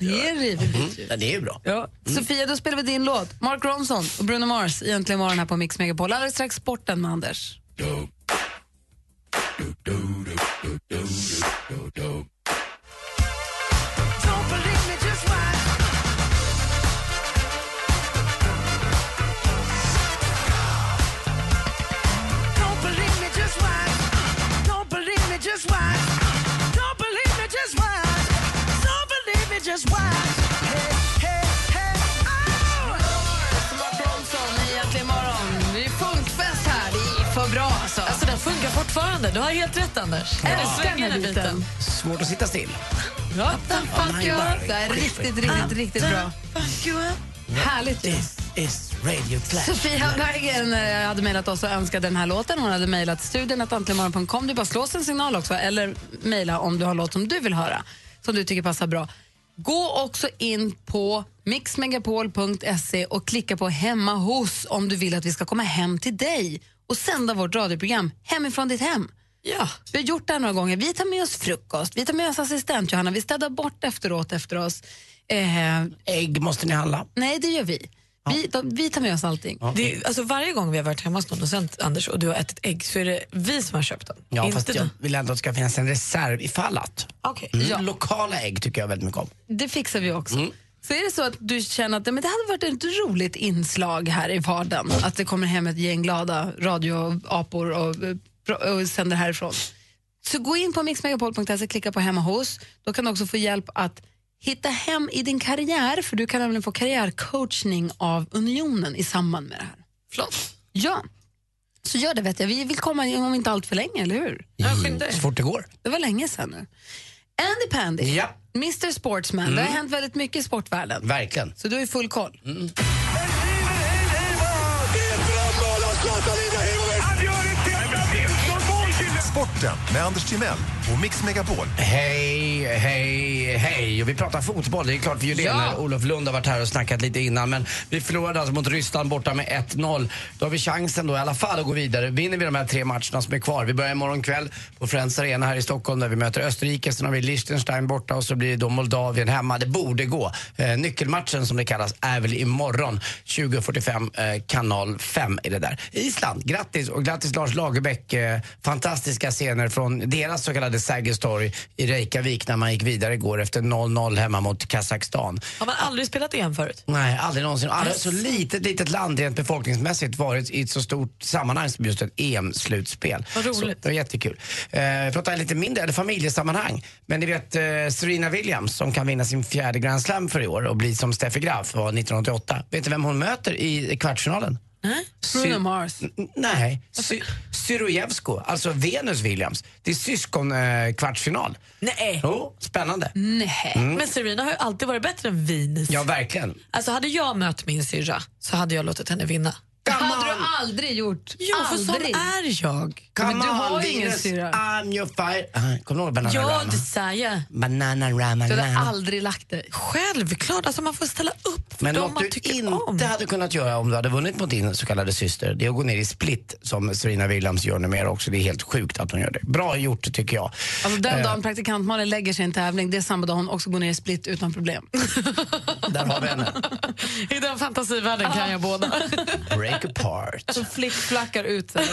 S2: Det är rivig bit.
S6: Mm. Ja, det är ju bra.
S2: Ja. Sofia, då spelar vi din låt. Mark Ronson och Bruno Mars i Äntligen morgon här på Mix Megapol. Alldeles strax sporten med Anders. Oh. Äntligen morgon. Det är funkfest här. Det är för bra alltså.
S5: Alltså den funkar fortfarande. Du har helt rätt Anders.
S2: Ja.
S5: Eller sväng den här biten.
S6: Svårt att sitta still.
S5: Ja,
S2: Fuck you up. Det här är riktigt, riktigt, riktigt bra. Fuck you up. Härligt ju.
S6: This is radio clash.
S2: Sofia Berggren eh, hade mejlat oss och önskade den här låten. Hon hade mejlat studion att antligenmorgon.com. Du bara slår oss en signal också, eller mejla om du har låt som du vill höra, som du tycker passar bra. Gå också in på mixmegapol.se och klicka på hemma hos om du vill att vi ska komma hem till dig och sända vårt radioprogram hemifrån ditt hem.
S5: Ja.
S2: Vi har gjort det här några gånger. Vi tar med oss frukost, vi tar med oss assistent Johanna, vi städar bort efteråt efter oss. Eh,
S6: Ägg måste ni handla.
S2: nej, det gör vi. Vi, de, vi tar med oss allting.
S5: Det är, alltså varje gång vi har varit hemma hos någon och sänt Anders och du har ätit ägg så är det vi som har köpt den.
S6: Ja,
S5: inte
S6: fast jag
S5: du.
S6: vill ändå att det ska finnas en reserv ifall att.
S5: Okej.
S6: Mm.
S2: Ja.
S6: Lokala ägg tycker jag väldigt mycket om.
S2: Det fixar vi också. Så är det så att du känner att ja, men det hade varit ett roligt inslag här i vardagen, att det kommer hem ett gäng glada radioapor och, eh, pro- och sänder härifrån. Så gå in på mixmegapol.se, klicka på hemma hos. Då kan du också få hjälp att hitta hem i din karriär, för du kan nämligen få karriärcoachning av Unionen i samband med det här.
S5: Flott.
S2: Ja, så gör det vet jag. Vi vill komma om inte allt för länge, eller hur?
S6: Mm. Så fort det går.
S2: Det var länge sedan nu. Andy Pandy,
S6: Ja.
S2: Mr Sportsman. Det har hänt väldigt mycket i sportvärlden.
S6: Verkligen.
S2: Så du har ju full koll.
S7: Sporten med Anders Timell och Mix Megapol.
S6: Hej, hej, hej. Och vi pratar fotboll. Det är klart vi gör det
S7: Ja.
S6: när Olof Lund har varit här och snackat lite innan. Men vi förlorade alltså mot Ryssland borta med 1-0. Då har vi chansen då i alla fall att gå vidare. Vinner vi de här tre matcherna som är kvar. Vi börjar imorgon kväll på Friends Arena här i Stockholm där vi möter Österrike. Sen har vi Liechtenstein borta och så blir det då Moldavien hemma. Det borde gå. Eh, nyckelmatchen som det kallas är väl imorgon 20.45 eh, kanal 5 är det där. Island, grattis och grattis Lars Lagerbäck. Eh, fantastiska scener från deras så kallade Sergels torg i Reykjavik när man gick vidare igår efter 0-0 hemma mot Kazakstan.
S5: Har man aldrig spelat EM förut?
S6: Nej, aldrig någonsin. Aldrig så litet, litet land rent befolkningsmässigt varit i ett så stort sammanhang som just ett EM-slutspel.
S5: Vad roligt.
S6: Så det var jättekul. Eh, pratar lite mindre, eller familjesammanhang. Men ni vet eh, Serena Williams som kan vinna sin fjärde Grand Slam för i år och bli som Steffi Graf var 1988. Vet du vem hon möter i kvartsfinalen?
S2: Bruno
S6: Sy-
S2: Mars.
S6: N- Nej, Sy- Syrojevsko, alltså Venus Williams. Det är syskonkvartsfinal. Eh, kvartsfinal.
S5: Nej.
S6: Jo, spännande.
S2: Nej.
S6: Mm.
S5: Men Serena har ju alltid varit bättre än Venus.
S6: Ja, verkligen.
S5: Alltså hade jag mött min syrra så hade jag låtit henne vinna.
S2: Det hade du aldrig gjort.
S5: Jo, för sån
S2: Aldrig.
S5: är jag.
S2: Men du har ju ingen
S6: Venus,
S2: syrra.
S6: I'm your fire. Ah, Kommer du ihåg Banana
S5: Ja,
S6: Rama?
S5: det säger jag.
S6: Banana Rama.
S2: Du
S6: Rama.
S2: hade aldrig lagt dig.
S5: Självklart, alltså man får ställa upp för
S6: Men
S5: dem
S6: något
S5: man
S6: du
S5: tycker
S6: inte
S5: om.
S6: hade kunnat göra om du hade vunnit mot din så kallade syster, det är att gå ner i split som Serena Williams gör numera också. Det är helt sjukt att hon gör det. Bra gjort tycker jag.
S2: Alltså den
S6: Eh,
S2: dagen praktikant Malin lägger sig i en tävling, det är samma dag hon också går ner i split utan problem.
S6: Där har vi henne.
S5: I den fantasivärlden kan jag båda.
S6: Break apart.
S2: Som Ah. flickflackar ut sig.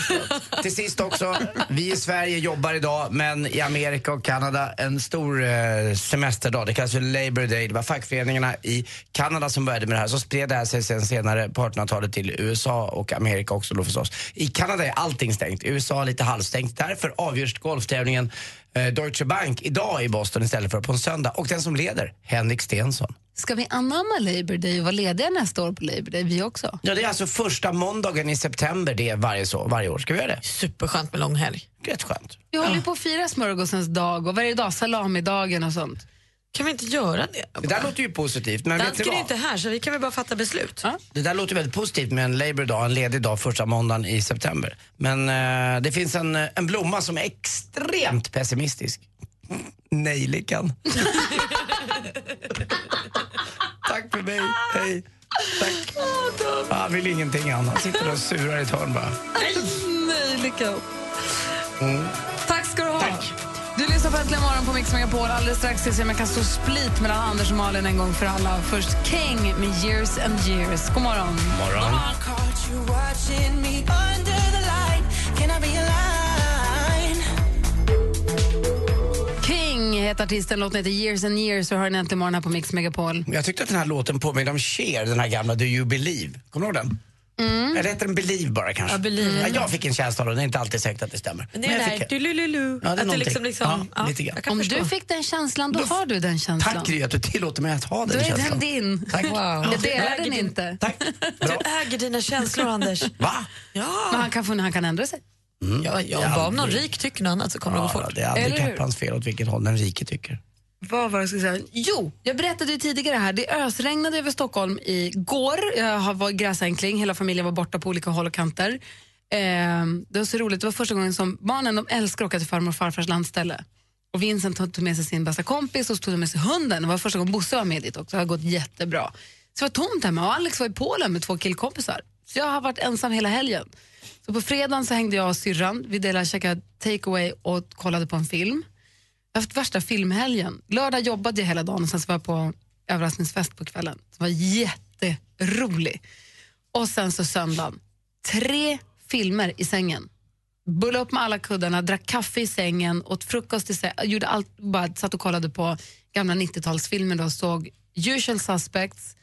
S6: Till sist också, vi i Sverige jobbar idag men i Amerika och Kanada en stor eh, semesterdag. Det kallas för Labour Day. Det var fackföreningarna i Kanada som började med det här. Så spred det här sig sen senare på 1800-talet till USA och Amerika också då förstås. I Kanada är allting stängt. USA är lite halvstängt. Därför avgörs golftävlingen eh, Deutsche Bank idag i Boston istället för på en söndag. Och den som leder, Henrik Stenson.
S2: Ska vi anamma Labour Day och vara lediga nästa år på Labour Day, vi också?
S6: Ja, det är alltså första måndagen i september det är varje, så, varje år. Ska vi göra det?
S5: Superskönt med lång helg.
S6: Rätt skönt.
S2: Vi håller ju på att fira smörgåsens dag och varje dag salamidagen och sånt.
S5: Kan vi inte göra det?
S6: Det där låter ju positivt. Men vet ni
S5: Dansken är
S6: vad?
S5: inte här så vi kan väl bara fatta beslut.
S6: Det där låter väldigt positivt med en Labour Day, en ledig dag första måndagen i september. Men eh, det finns en, eh, en blomma som är extremt pessimistisk. Nejlikan. Tack för mig, hej. Tack. Han vill ingenting annat. Sitter och surar i ett hörn bara.
S2: Nej, lycka upp.
S6: Mm.
S2: Tack ska du ha. Du lyssnar på Äntligen morgon på Mix Megapol. Alldeles strax ska vi se om jag kan stå split mellan Anders och Malin en gång för alla. Först King med Years and Years. God morgon.
S6: morgon.
S2: King heter artisten. Låten heter Years and Years och hör den Äntligen morgon här på Mix Megapol.
S6: Jag tyckte att den här låten påminner om Cher, den här gamla Do You Believe. Kommer du ihåg den?
S2: Mm.
S6: Eller heter den Believe bara kanske?
S5: Ja, Believe.
S6: Ja, jag fick en känsla av den, det är inte alltid säkert att det stämmer.
S5: Men det är
S6: jag
S5: det
S6: fick
S5: där du-lu-lu-lu.
S6: Ja, det är
S5: att du
S6: någonting.
S5: liksom, liksom,
S6: Ja, lite grann. Jag kan
S2: Om
S6: förstå.
S2: du fick den känslan, då, har du den känslan.
S6: Tack Gry att du tillåter mig att
S2: Då
S6: ha den
S2: är
S6: känslan.
S2: den din.
S6: Tack.
S2: Wow. Jag delar den inte.
S5: Du äger dina känslor, Anders.
S6: Va?
S5: Ja.
S2: Men han kan, få- han kan ändra sig.
S6: Mm.
S5: Ja, ja,
S6: Det är
S5: bara om någon
S6: aldrig-
S5: rik tycker något annat så kommer det gå
S6: Ja,
S5: fort.
S6: det är aldrig
S2: Eller hur?
S6: Kaplans fel åt vilket håll den rike tycker.
S2: Vad var det jag skulle säga? Jo, jag berättade ju tidigare här, det ösregnade över Stockholm igår. Jag har- var gräsänkling, hela familjen var borta på olika håll och kanter. Ehm, det var så roligt, det var första gången som barnen, de älskar att åka till farmor och farfars landställe. Och Vincent tog tog med sig sin bästa kompis och så tog de med sig hunden. Det var första gången Bosse var med dit också, det har gått jättebra. Så det var tomt hemma och Alex var i Polen med två killkompisar. Så jag har varit ensam hela helgen. Så på fredagen så hängde jag och syrran, vi delade käkade takeaway och kollade på en film. Jag har haft värsta filmhelgen. Lördag jobbade jag hela dagen och sen så var jag på överraskningsfest på kvällen. Det var jätterolig. Och sen så söndagen, tre filmer i sängen. Bullade upp med alla kuddarna, drack kaffe i sängen, åt frukost i sängen. Gjorde allt, bara satt och kollade på gamla 90-talsfilmer då, såg Usual Suspects,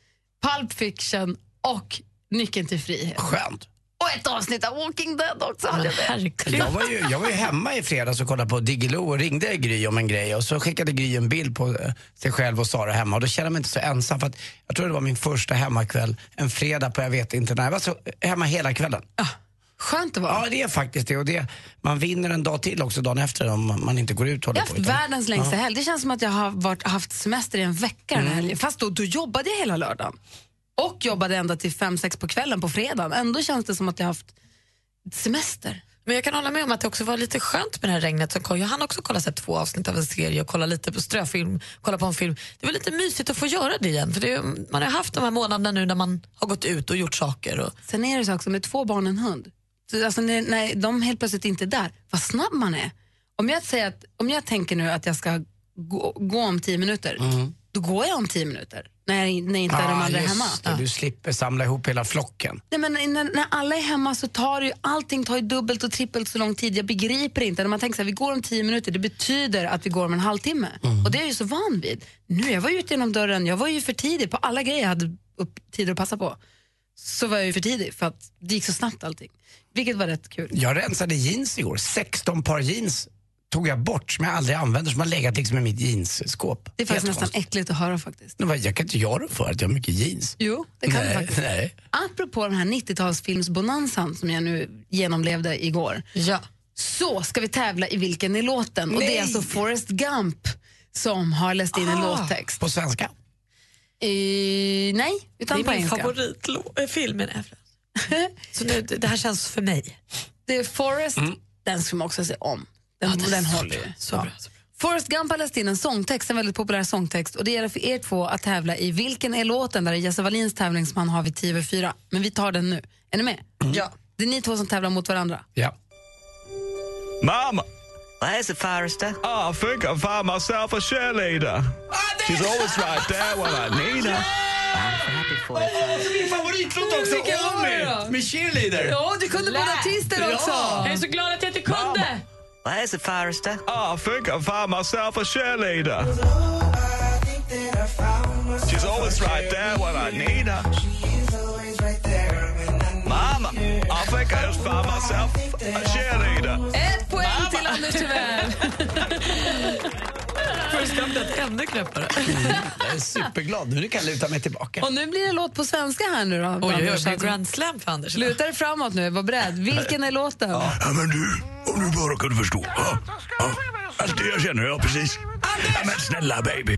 S2: Pulp Fiction och Nyckeln till frihet.
S6: Skönt.
S2: Och ett avsnitt av Walking Dead också. hade jag med.
S6: Jag var, ju, jag var ju hemma i fredags och kollade på Diggiloo och ringde Gry om en grej och så skickade Gry en bild på eh, sig själv och Sara hemma och då kände jag mig inte så ensam för att jag tror det var min första hemmakväll en fredag på jag vet inte när. Jag var så eh, hemma hela kvällen.
S2: Skönt det var.
S6: Ja det är faktiskt det och det, man vinner en dag till också dagen efter om man inte går ut och
S2: Jag har
S6: håller
S2: haft
S6: på. utan-
S2: världens längsta
S6: Ja. Mm.
S2: helg. Det känns som att jag har varit, haft semester i en vecka den här helgen. Fast då, då jobbade jag hela lördagen. Och jobbade ända till fem sex på kvällen på fredagen. Ändå känns det som att jag har haft semester.
S5: Men jag kan hålla med om att det också var lite skönt med det här regnet. Som kom. Jag hann också kolla så här, två avsnitt av en serie och kolla lite på ströfilm, kolla på en film. Det var lite mysigt att få göra det igen. För det, man har haft de här månaderna nu när man har gått ut och gjort saker. Och,
S2: Sen är det så också med två barn och en hund. Så, alltså, när, när de helt plötsligt inte är där, vad snabb man är. Om jag, säger att, om jag tänker nu att jag ska gå, gå om tio minuter, då går jag om tio minuter. När, när inte de andra är
S6: just
S2: hemma.
S6: Det, Du slipper samla ihop hela flocken.
S2: Nej, men när, när alla är hemma så tar det ju, allting tar ju dubbelt och trippelt så lång tid. Jag begriper inte. När man tänker så här, vi går om tio minuter, det betyder att vi går om en halvtimme.
S5: Mm.
S2: Och det är jag ju så van vid. Nu, jag var ju ute genom dörren, jag var ju för tidig på alla grejer jag hade upp, tider att passa på. Så var jag ju för tidig för att det gick så snabbt allting. Vilket var rätt kul.
S6: Jag rensade jeans igår, 16 par jeans tog jag bort som jag aldrig använder som har legat liksom i mitt jeansskåp.
S2: Det är faktiskt
S6: Helt
S2: nästan äckligt att höra faktiskt.
S6: Men vad- Jag kan inte göra för att jag har mycket jeans.
S2: Jo, det kan
S6: nej,
S2: du faktiskt.
S6: Nej.
S2: Apropå den här 90-talsfilmsbonanzan som jag nu genomlevde igår.
S5: Ja.
S2: Så ska vi tävla i vilken är låten. Och det
S5: Nej.
S2: är alltså Forrest Gump som har läst in en
S5: Ah.
S2: låttext. Eh,
S6: På svenska?
S2: Mm. nej, utan
S5: det är
S2: på
S5: min eh,
S2: engelska.
S5: favoritfilm. så nu, det, det här känns för mig.
S2: Det är Forrest, den ska man också se om. Den,
S5: Mm. Ja, det är
S2: den
S5: så
S2: håller ju.
S5: bra, så
S2: Ja.
S5: bra,
S2: Forrest Gump har läst in en sångtext, en väldigt populär sångtext. Och Det gäller för er två att tävla i Vilken är låten? Där är Jesse Wallins tävling som han har vid 10 över 4. Men vi tar den nu. Är ni med?
S5: Mm.
S2: Ja. Det är ni två som tävlar mot varandra.
S6: Ja.
S18: Mom, there's a forester. Oh, I think I found myself a cheerleader. She's always right there when I need her.
S6: Åh, så min favoritlåt också!
S18: Vilken var det då?
S6: Omi med Cheerleader.
S18: Ja, du
S2: kunde
S18: båda artister också. Jag är så
S5: glad att jag inte kunde.
S18: There's a forester. Oh, I think I found myself a cheerleader. She's always right there when I need her. Mom, I think I just found myself a cheerleader.
S2: Ett poäng till Anders tyvärr.
S5: Först blev ännu knäppare.
S6: Jag är superglad nu. Nu kan jag luta mig tillbaka.
S2: Och nu blir det låt på svenska här nu då.
S5: Oj, oj, oj,
S2: Anders. Alltså,
S5: det är grand slam för Anders.
S2: Luta dig framåt nu, var beredd. Vilken är låten?
S19: Ja, men du, om du bara kunde förstå. Ja, ja. Allt det jag känner, ja precis. Ja, men snälla baby.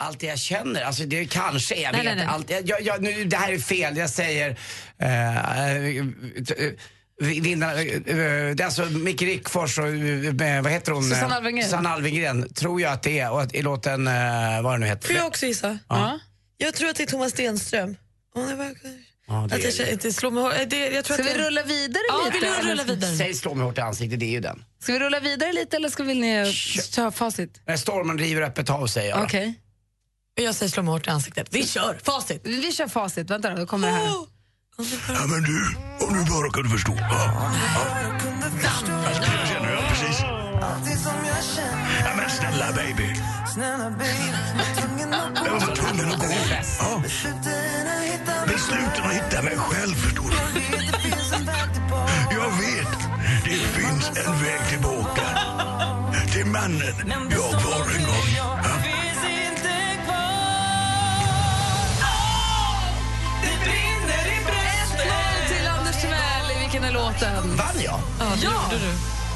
S6: Allt det jag känner, alltså det kanske är, jag
S19: Nej,
S6: vet
S19: nej, nej.
S6: Allt, jag, jag, nu, Det här är fel, jag säger... eh, eh, t- eh, Vinnarna, eh, eh, det är alltså Micke Rickfors och eh, med- vad heter hon?
S2: Susanne
S6: Eh,
S2: Alvengren.
S6: Susanne Alvengren, tror jag att det är. Och att, i låten, eh, vad den nu heter.
S20: Får jag också gissa?
S6: Ja.
S20: Jag tror att det är Thomas Stenström. Om det var...
S6: Ja, det
S20: att jag
S6: är
S20: känner, inte slå mig
S5: eh,
S20: hårt. det, jag tror
S2: Ska
S20: att
S2: vi
S20: det...
S2: rulla vidare
S20: ja,
S2: lite?
S20: Ja, vi rulla
S2: eller?
S20: vidare.
S6: Säg slå mig hårt i ansiktet, det är ju den.
S2: Ska vi rulla vidare lite eller ska vill ni köra facit?
S6: När stormen river öppet hav säger jag.
S2: Okej.
S5: Jag säger slå mig hårt i ansiktet. Vi kör! Facit!
S2: Vi kör facit. Vänta då, då kommer det här.
S19: Ja, men du, om du bara kunde förstå. Ja, ja. Allt det jag känner, ja precis. Ja, men snälla baby. Jag var tvungen att gå. Ja. Besluten att hitta mig själv, förstår du. Jag vet, det finns en väg tillbaka. Till mannen jag var en gång. Ja.
S2: Till Anders Timell, vilken är låten?
S6: Vann jag?
S2: Ja!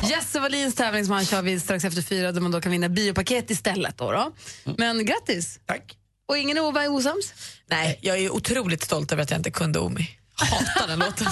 S2: Jesse Wallins tävlingsman kör vi strax efter fyra där man då kan vinna biopaket istället. Då, då.
S20: Mm.
S2: Men grattis!
S6: Tack.
S2: Och ingen är ova- osams?
S5: Nej, jag är otroligt stolt över att jag inte kunde Omi. Hatar den låten.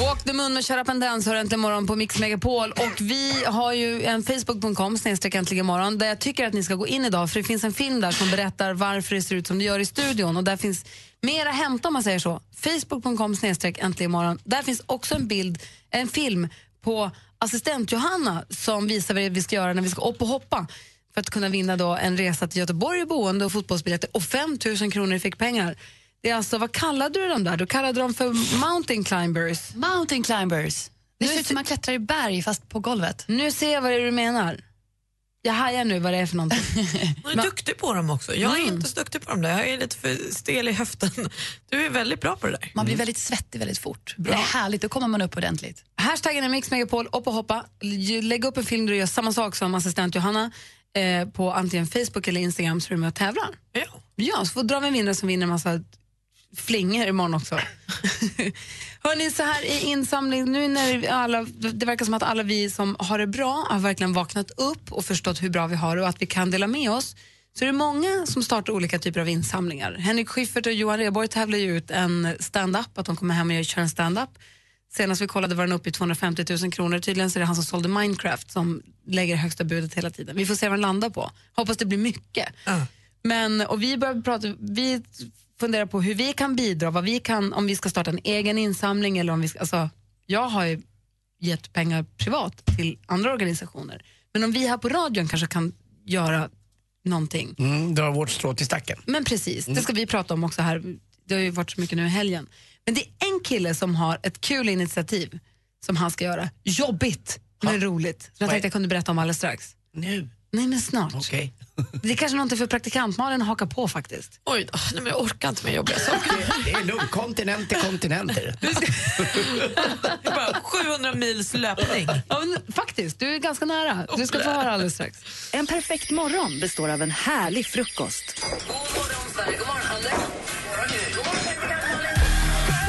S2: Walk the Moon med Shut Up and Dance hör äntligen morgon på Mix Megapol. Och vi har ju en facebook.com snedstreck äntligen morgon där jag tycker att ni ska gå in idag för det finns en film där som berättar varför det ser ut som det gör i studion och där finns mer att hämta om man säger så. Facebook.com snedstreck äntligen morgon. Där finns också en bild, en film på assistent Johanna som visar vad det är vi ska göra när vi ska upp och hoppa för att kunna vinna då en resa till Göteborg i boende och fotbollsbiljetter och 5 000 kronor i fickpengar. Det är alltså, vad kallade du dem där? Du kallade dem för mountain climbers.
S17: Mountain climbers. Det ser ut som man klättrar i berg fast på golvet.
S2: Nu ser jag vad det är du menar. Jag hajar nu vad det är för någonting.
S5: Du är duktig på dem också. Jag
S2: Mm.
S5: är inte så duktig på dem där. Jag är lite för stel i höften. Du är väldigt bra på det där.
S17: Man blir väldigt svettig väldigt fort. Det är härligt, då kommer man upp ordentligt.
S2: Hashtaggen är Mix Megapol, upp och hoppa. L- Lägg upp en film där du gör samma sak som assistent Johanna eh, på antingen Facebook eller Instagram så är du med och tävlar.
S5: Ja.
S2: ja, så får drar vi en vinnare som vinner en massa flingor imorgon också. Hörni, så här i insamling, nu när alla, det verkar som att alla vi som har det bra har verkligen vaknat upp och förstått hur bra vi har det och att vi kan dela med oss, så är det många som startar olika typer av insamlingar. Henrik Schiffert och Johan Rheborg tävlar ju ut en stand-up, att de kommer hem och kör en stand-up. Senast vi kollade var den uppe i 250 000 kronor. Tydligen så är det han som sålde Minecraft som lägger högsta budet hela tiden. Vi får se vad den landar på. Hoppas det blir mycket. Men, och vi, börjar prata, vi funderar på hur vi kan bidra, vad vi kan, om vi ska starta en egen insamling eller om vi ska, alltså, jag har ju gett pengar privat till andra organisationer. Men om vi här på radion kanske kan göra någonting.
S6: Mm, dra vårt strå till stacken.
S2: Men precis, det ska vi prata om också här. Det har ju varit så mycket nu i helgen. Men det är en kille som har ett kul initiativ som han ska göra. Jobbigt, men roligt. Som jag tänkte jag kunde berätta om alldeles strax.
S6: Nu?
S2: Nej, men snart.
S6: Okej.
S2: Det är kanske någonting för praktikantmalen att haka på faktiskt.
S5: Oj då, nej, men jag orkar inte med jobbiga saker.
S6: Det är lugnt, kontinent till kontinenter.
S5: Det är bara 700 mils löpning.
S2: Ja, men, faktiskt, du är ganska nära. Du ska få höra alldeles strax.
S1: En perfekt morgon består av en härlig frukost.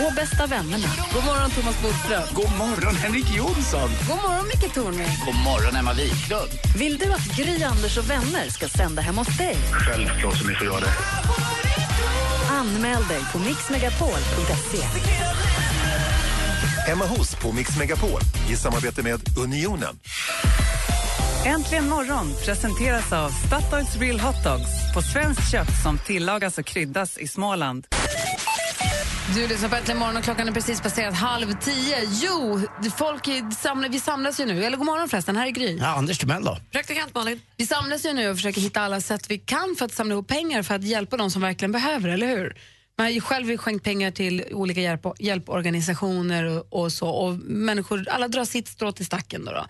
S1: Och bästa vännerna. God morgon, Thomas Bodström.
S21: God morgon, Henrik Jonsson.
S1: God morgon, Micke Tornving.
S21: God morgon, Emma Wiklund.
S1: Vill du att Gry, Anders och vänner ska sända hem hos dig?
S21: Självklart som ni får göra det.
S1: Anmäl dig på mixmegapol.se.
S10: Emma hos på Mix Megapol i samarbete med Unionen.
S11: Äntligen morgon presenteras av Statoils Real Hot Dogs på svenskt kött som tillagas och kryddas i Småland.
S2: Du lyssnar på Äntligen morgon och klockan är precis passerat halv tio. Jo, folk är- samlar, vi samlas ju nu. Eller god morgon förresten, här är Gry.
S6: Ja, Anders Timell då?
S5: Praktikant Malin.
S2: Vi samlas ju nu och försöker hitta alla sätt vi kan för att samla ihop pengar för att hjälpa de som verkligen behöver, eller hur? Man har ju själv skänkt pengar till olika hjälp, hjälporganisationer och, och så. Och människor, alla drar sitt strå till stacken. Då då.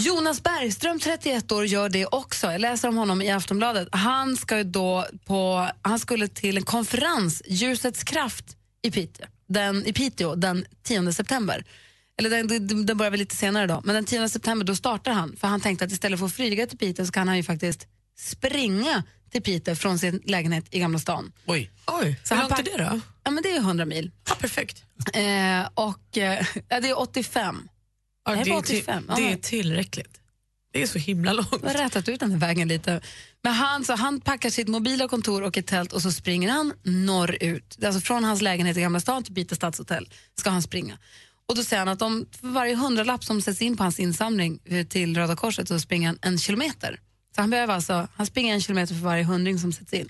S2: Jonas Bergström, 31 år, gör det också. Jag läser om honom i Aftonbladet. Han, ska ju då på, han skulle till en konferens, Ljusets kraft, i Piteå den, i Piteå, den 10 september. Eller den, den- den börjar väl lite senare då, men den 10 september då startar han. För han tänkte att istället för att flyga till Piteå så kan han ju faktiskt springa till Piteå från sin lägenhet i Gamla stan.
S22: Oj.
S5: Oj,
S2: Så
S5: hur
S2: han
S5: långt är
S2: pack-
S5: det då?
S2: Ja, men det är 100 mil.
S5: perfekt.
S2: Eh, och eh, ja, det är 85.
S5: Ja,
S2: Nej,
S5: det,
S2: det var
S5: är till,
S2: 85, ja.
S5: det är tillräckligt. Det är så himla långt.
S2: Jag har rätat ut den här vägen lite. Men han, så han packar sitt mobila kontor och ett tält och så springer han norrut. Det är Alltså från hans lägenhet i Gamla stan till Piteå stadshotell ska han springa. Och då säger han att om för varje hundralapp som sätts in på hans insamling eh, till Röda Korset så springer han en kilometer. Så han behöver alltså, han springer en kilometer för varje hundring som sätts in.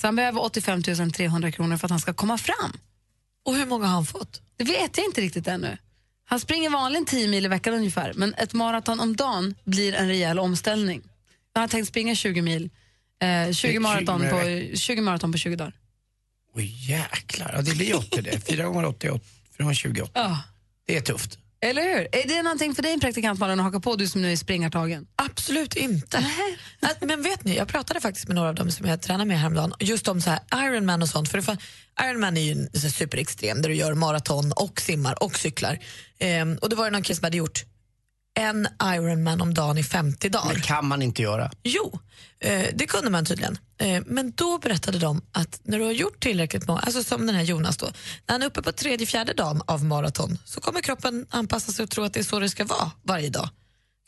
S2: Så han behöver 85 300 kronor för att han ska komma fram.
S5: Och hur många har han fått?
S2: Det vet jag inte riktigt ännu. Han springer vanligen 10 mil i veckan ungefär, men ett maraton om dagen blir en rejäl omställning. Jag har tänkt springa 20 mil, eh, 20,
S6: tjugo
S2: maraton
S6: mil i
S2: på,
S6: veckan.
S2: 20 maraton på 20 dagar.
S6: Oj jäklar, ja, det blir 80 det. 4 gånger 80 är 80, 4 gånger 20 är 80.
S2: Ja.
S6: Det är tufft.
S2: Eller hur? Är det någonting för dig praktikant Malin att haka på, du som nu är springartagen?
S5: Absolut inte. Att- Men vet ni, jag pratade faktiskt med några av dem som jag tränar med häromdagen, just om så här Ironman och sånt. För det fan, Ironman är ju en så här superextrem där du gör maraton och simmar och cyklar. Ehm, och det var det någon kille som hade gjort en Ironman om dagen i 50 dagar.
S6: Det kan man inte göra.
S5: Jo, eh, det kunde man tydligen. Eh, men då berättade de att när du har gjort tillräckligt många, alltså som den här Jonas då, när han är uppe på tredje, fjärde dagen av maraton så kommer kroppen anpassa sig och tro att det är så det ska vara varje dag.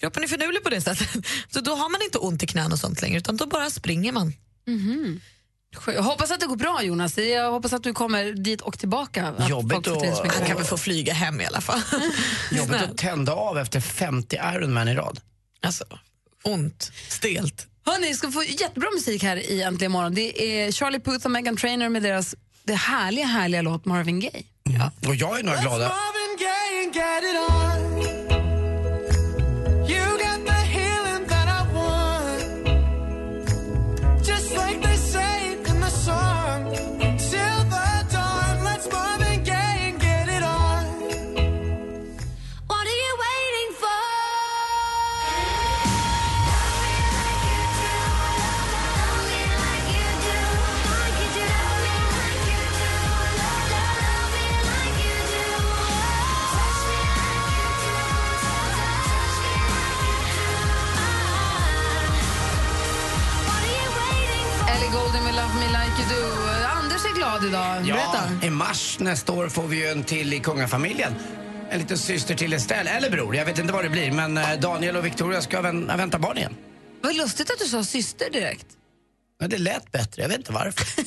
S5: Kroppen är finurlig på det sättet. Så då har man inte ont i knän och sånt längre utan då bara springer man.
S2: Jag hoppas att det går bra Jonas, jag hoppas att du kommer dit och tillbaka. Att folk får tid att springa.
S5: kan väl få flyga hem i alla fall.
S6: Jobbigt att tända av efter 50 Ironman i rad.
S5: Alltså, ont, stelt.
S2: Hörni, ska få jättebra musik här i Äntligen morgon. Det är Charlie Puth och Megan Trainor med deras det härliga, härliga låt Marvin Gaye.
S6: Och jag är några glada.
S2: Ellie Goulding med Love Me Like You Do. Anders är glad idag. Berätta.
S6: I mars nästa år får vi ju en till i kungafamiljen. En liten syster till Estelle, eller bror. Jag vet inte vad det blir. Men eh, Daniel och Victoria ska vän- vänta barn igen.
S2: Vad lustigt att du sa syster direkt.
S6: Men det lät bättre, jag vet inte varför.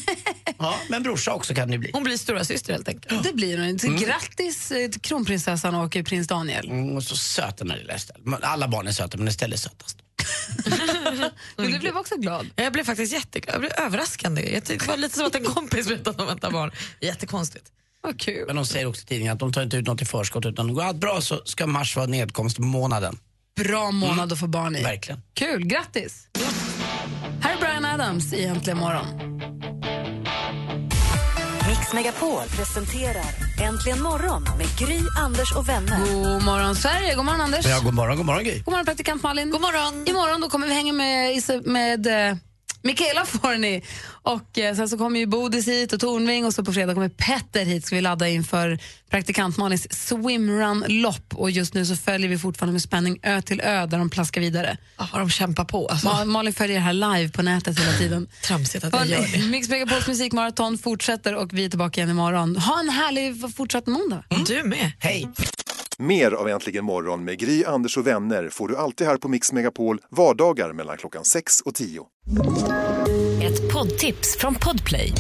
S6: ja, men brorsa också kan det bli.
S5: Hon blir stora syster helt enkelt.
S2: Det blir hon. Så
S6: Mm.
S2: Grattis eh, till kronprinsessan och eh, prins Daniel.
S6: Mm, och så söt den här lilla Estelle. Men Alla barn är söta, men Estelle är sötast.
S2: Du blev också glad.
S5: Jag blev faktiskt jätteglad. Jag blev överraskande. Jag tyckte det var lite som att en kompis berättade att de väntar barn. Jättekonstigt.
S2: Vad kul.
S6: Men de säger också i tidningen att de tar inte ut något i förskott utan det går allt bra så ska mars vara nedkomstmånaden.
S2: Bra månad att få barn i.
S6: Mm. Verkligen.
S2: Kul, grattis! Här är Brian Adams i Äntligen morgon.
S1: Mix Megapol presenterar Äntligen morgon med Gry, Anders och vänner.
S2: God morgon, Sverige. God morgon, Anders.
S6: Ja, god morgon, god morgon Gry.
S2: God morgon, praktikant Malin. God morgon. Imorgon då kommer vi hänga med, Isa- med eh, Michaela Forni. Och eh, sen så kommer ju Bodis hit och Tornving och så på fredag kommer Petter hit. Ska vi ladda inför praktikant Malins swimrun-lopp. Och just nu så följer vi fortfarande med spänning ö till ö där de plaskar vidare.
S5: Ja, de kämpar på. Alltså.
S2: Ma- Malin följer det här live på nätet hela tiden.
S5: Tramsigt att jag gör det.
S2: Mix Megapols musikmaraton fortsätter och vi är tillbaka igen imorgon. Ha en härlig fortsatt måndag.
S5: Du med.
S6: Hej.
S10: Mer av Äntligen morgon med Gry, Anders och vänner får du alltid här på Mix Megapol vardagar mellan klockan 6 och 10.
S1: Ett poddtips från Podplay.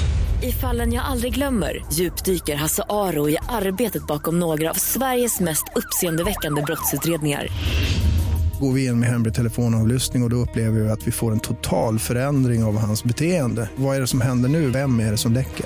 S1: I fallen jag aldrig glömmer djupdyker Hasse Aro i arbetet bakom några av Sveriges mest uppseendeväckande brottsutredningar.
S7: Går vi in med hemlig telefonavlyssning och, och då upplever vi att vi får en total förändring av hans beteende. Vad är det som händer nu? Vem är det som läcker?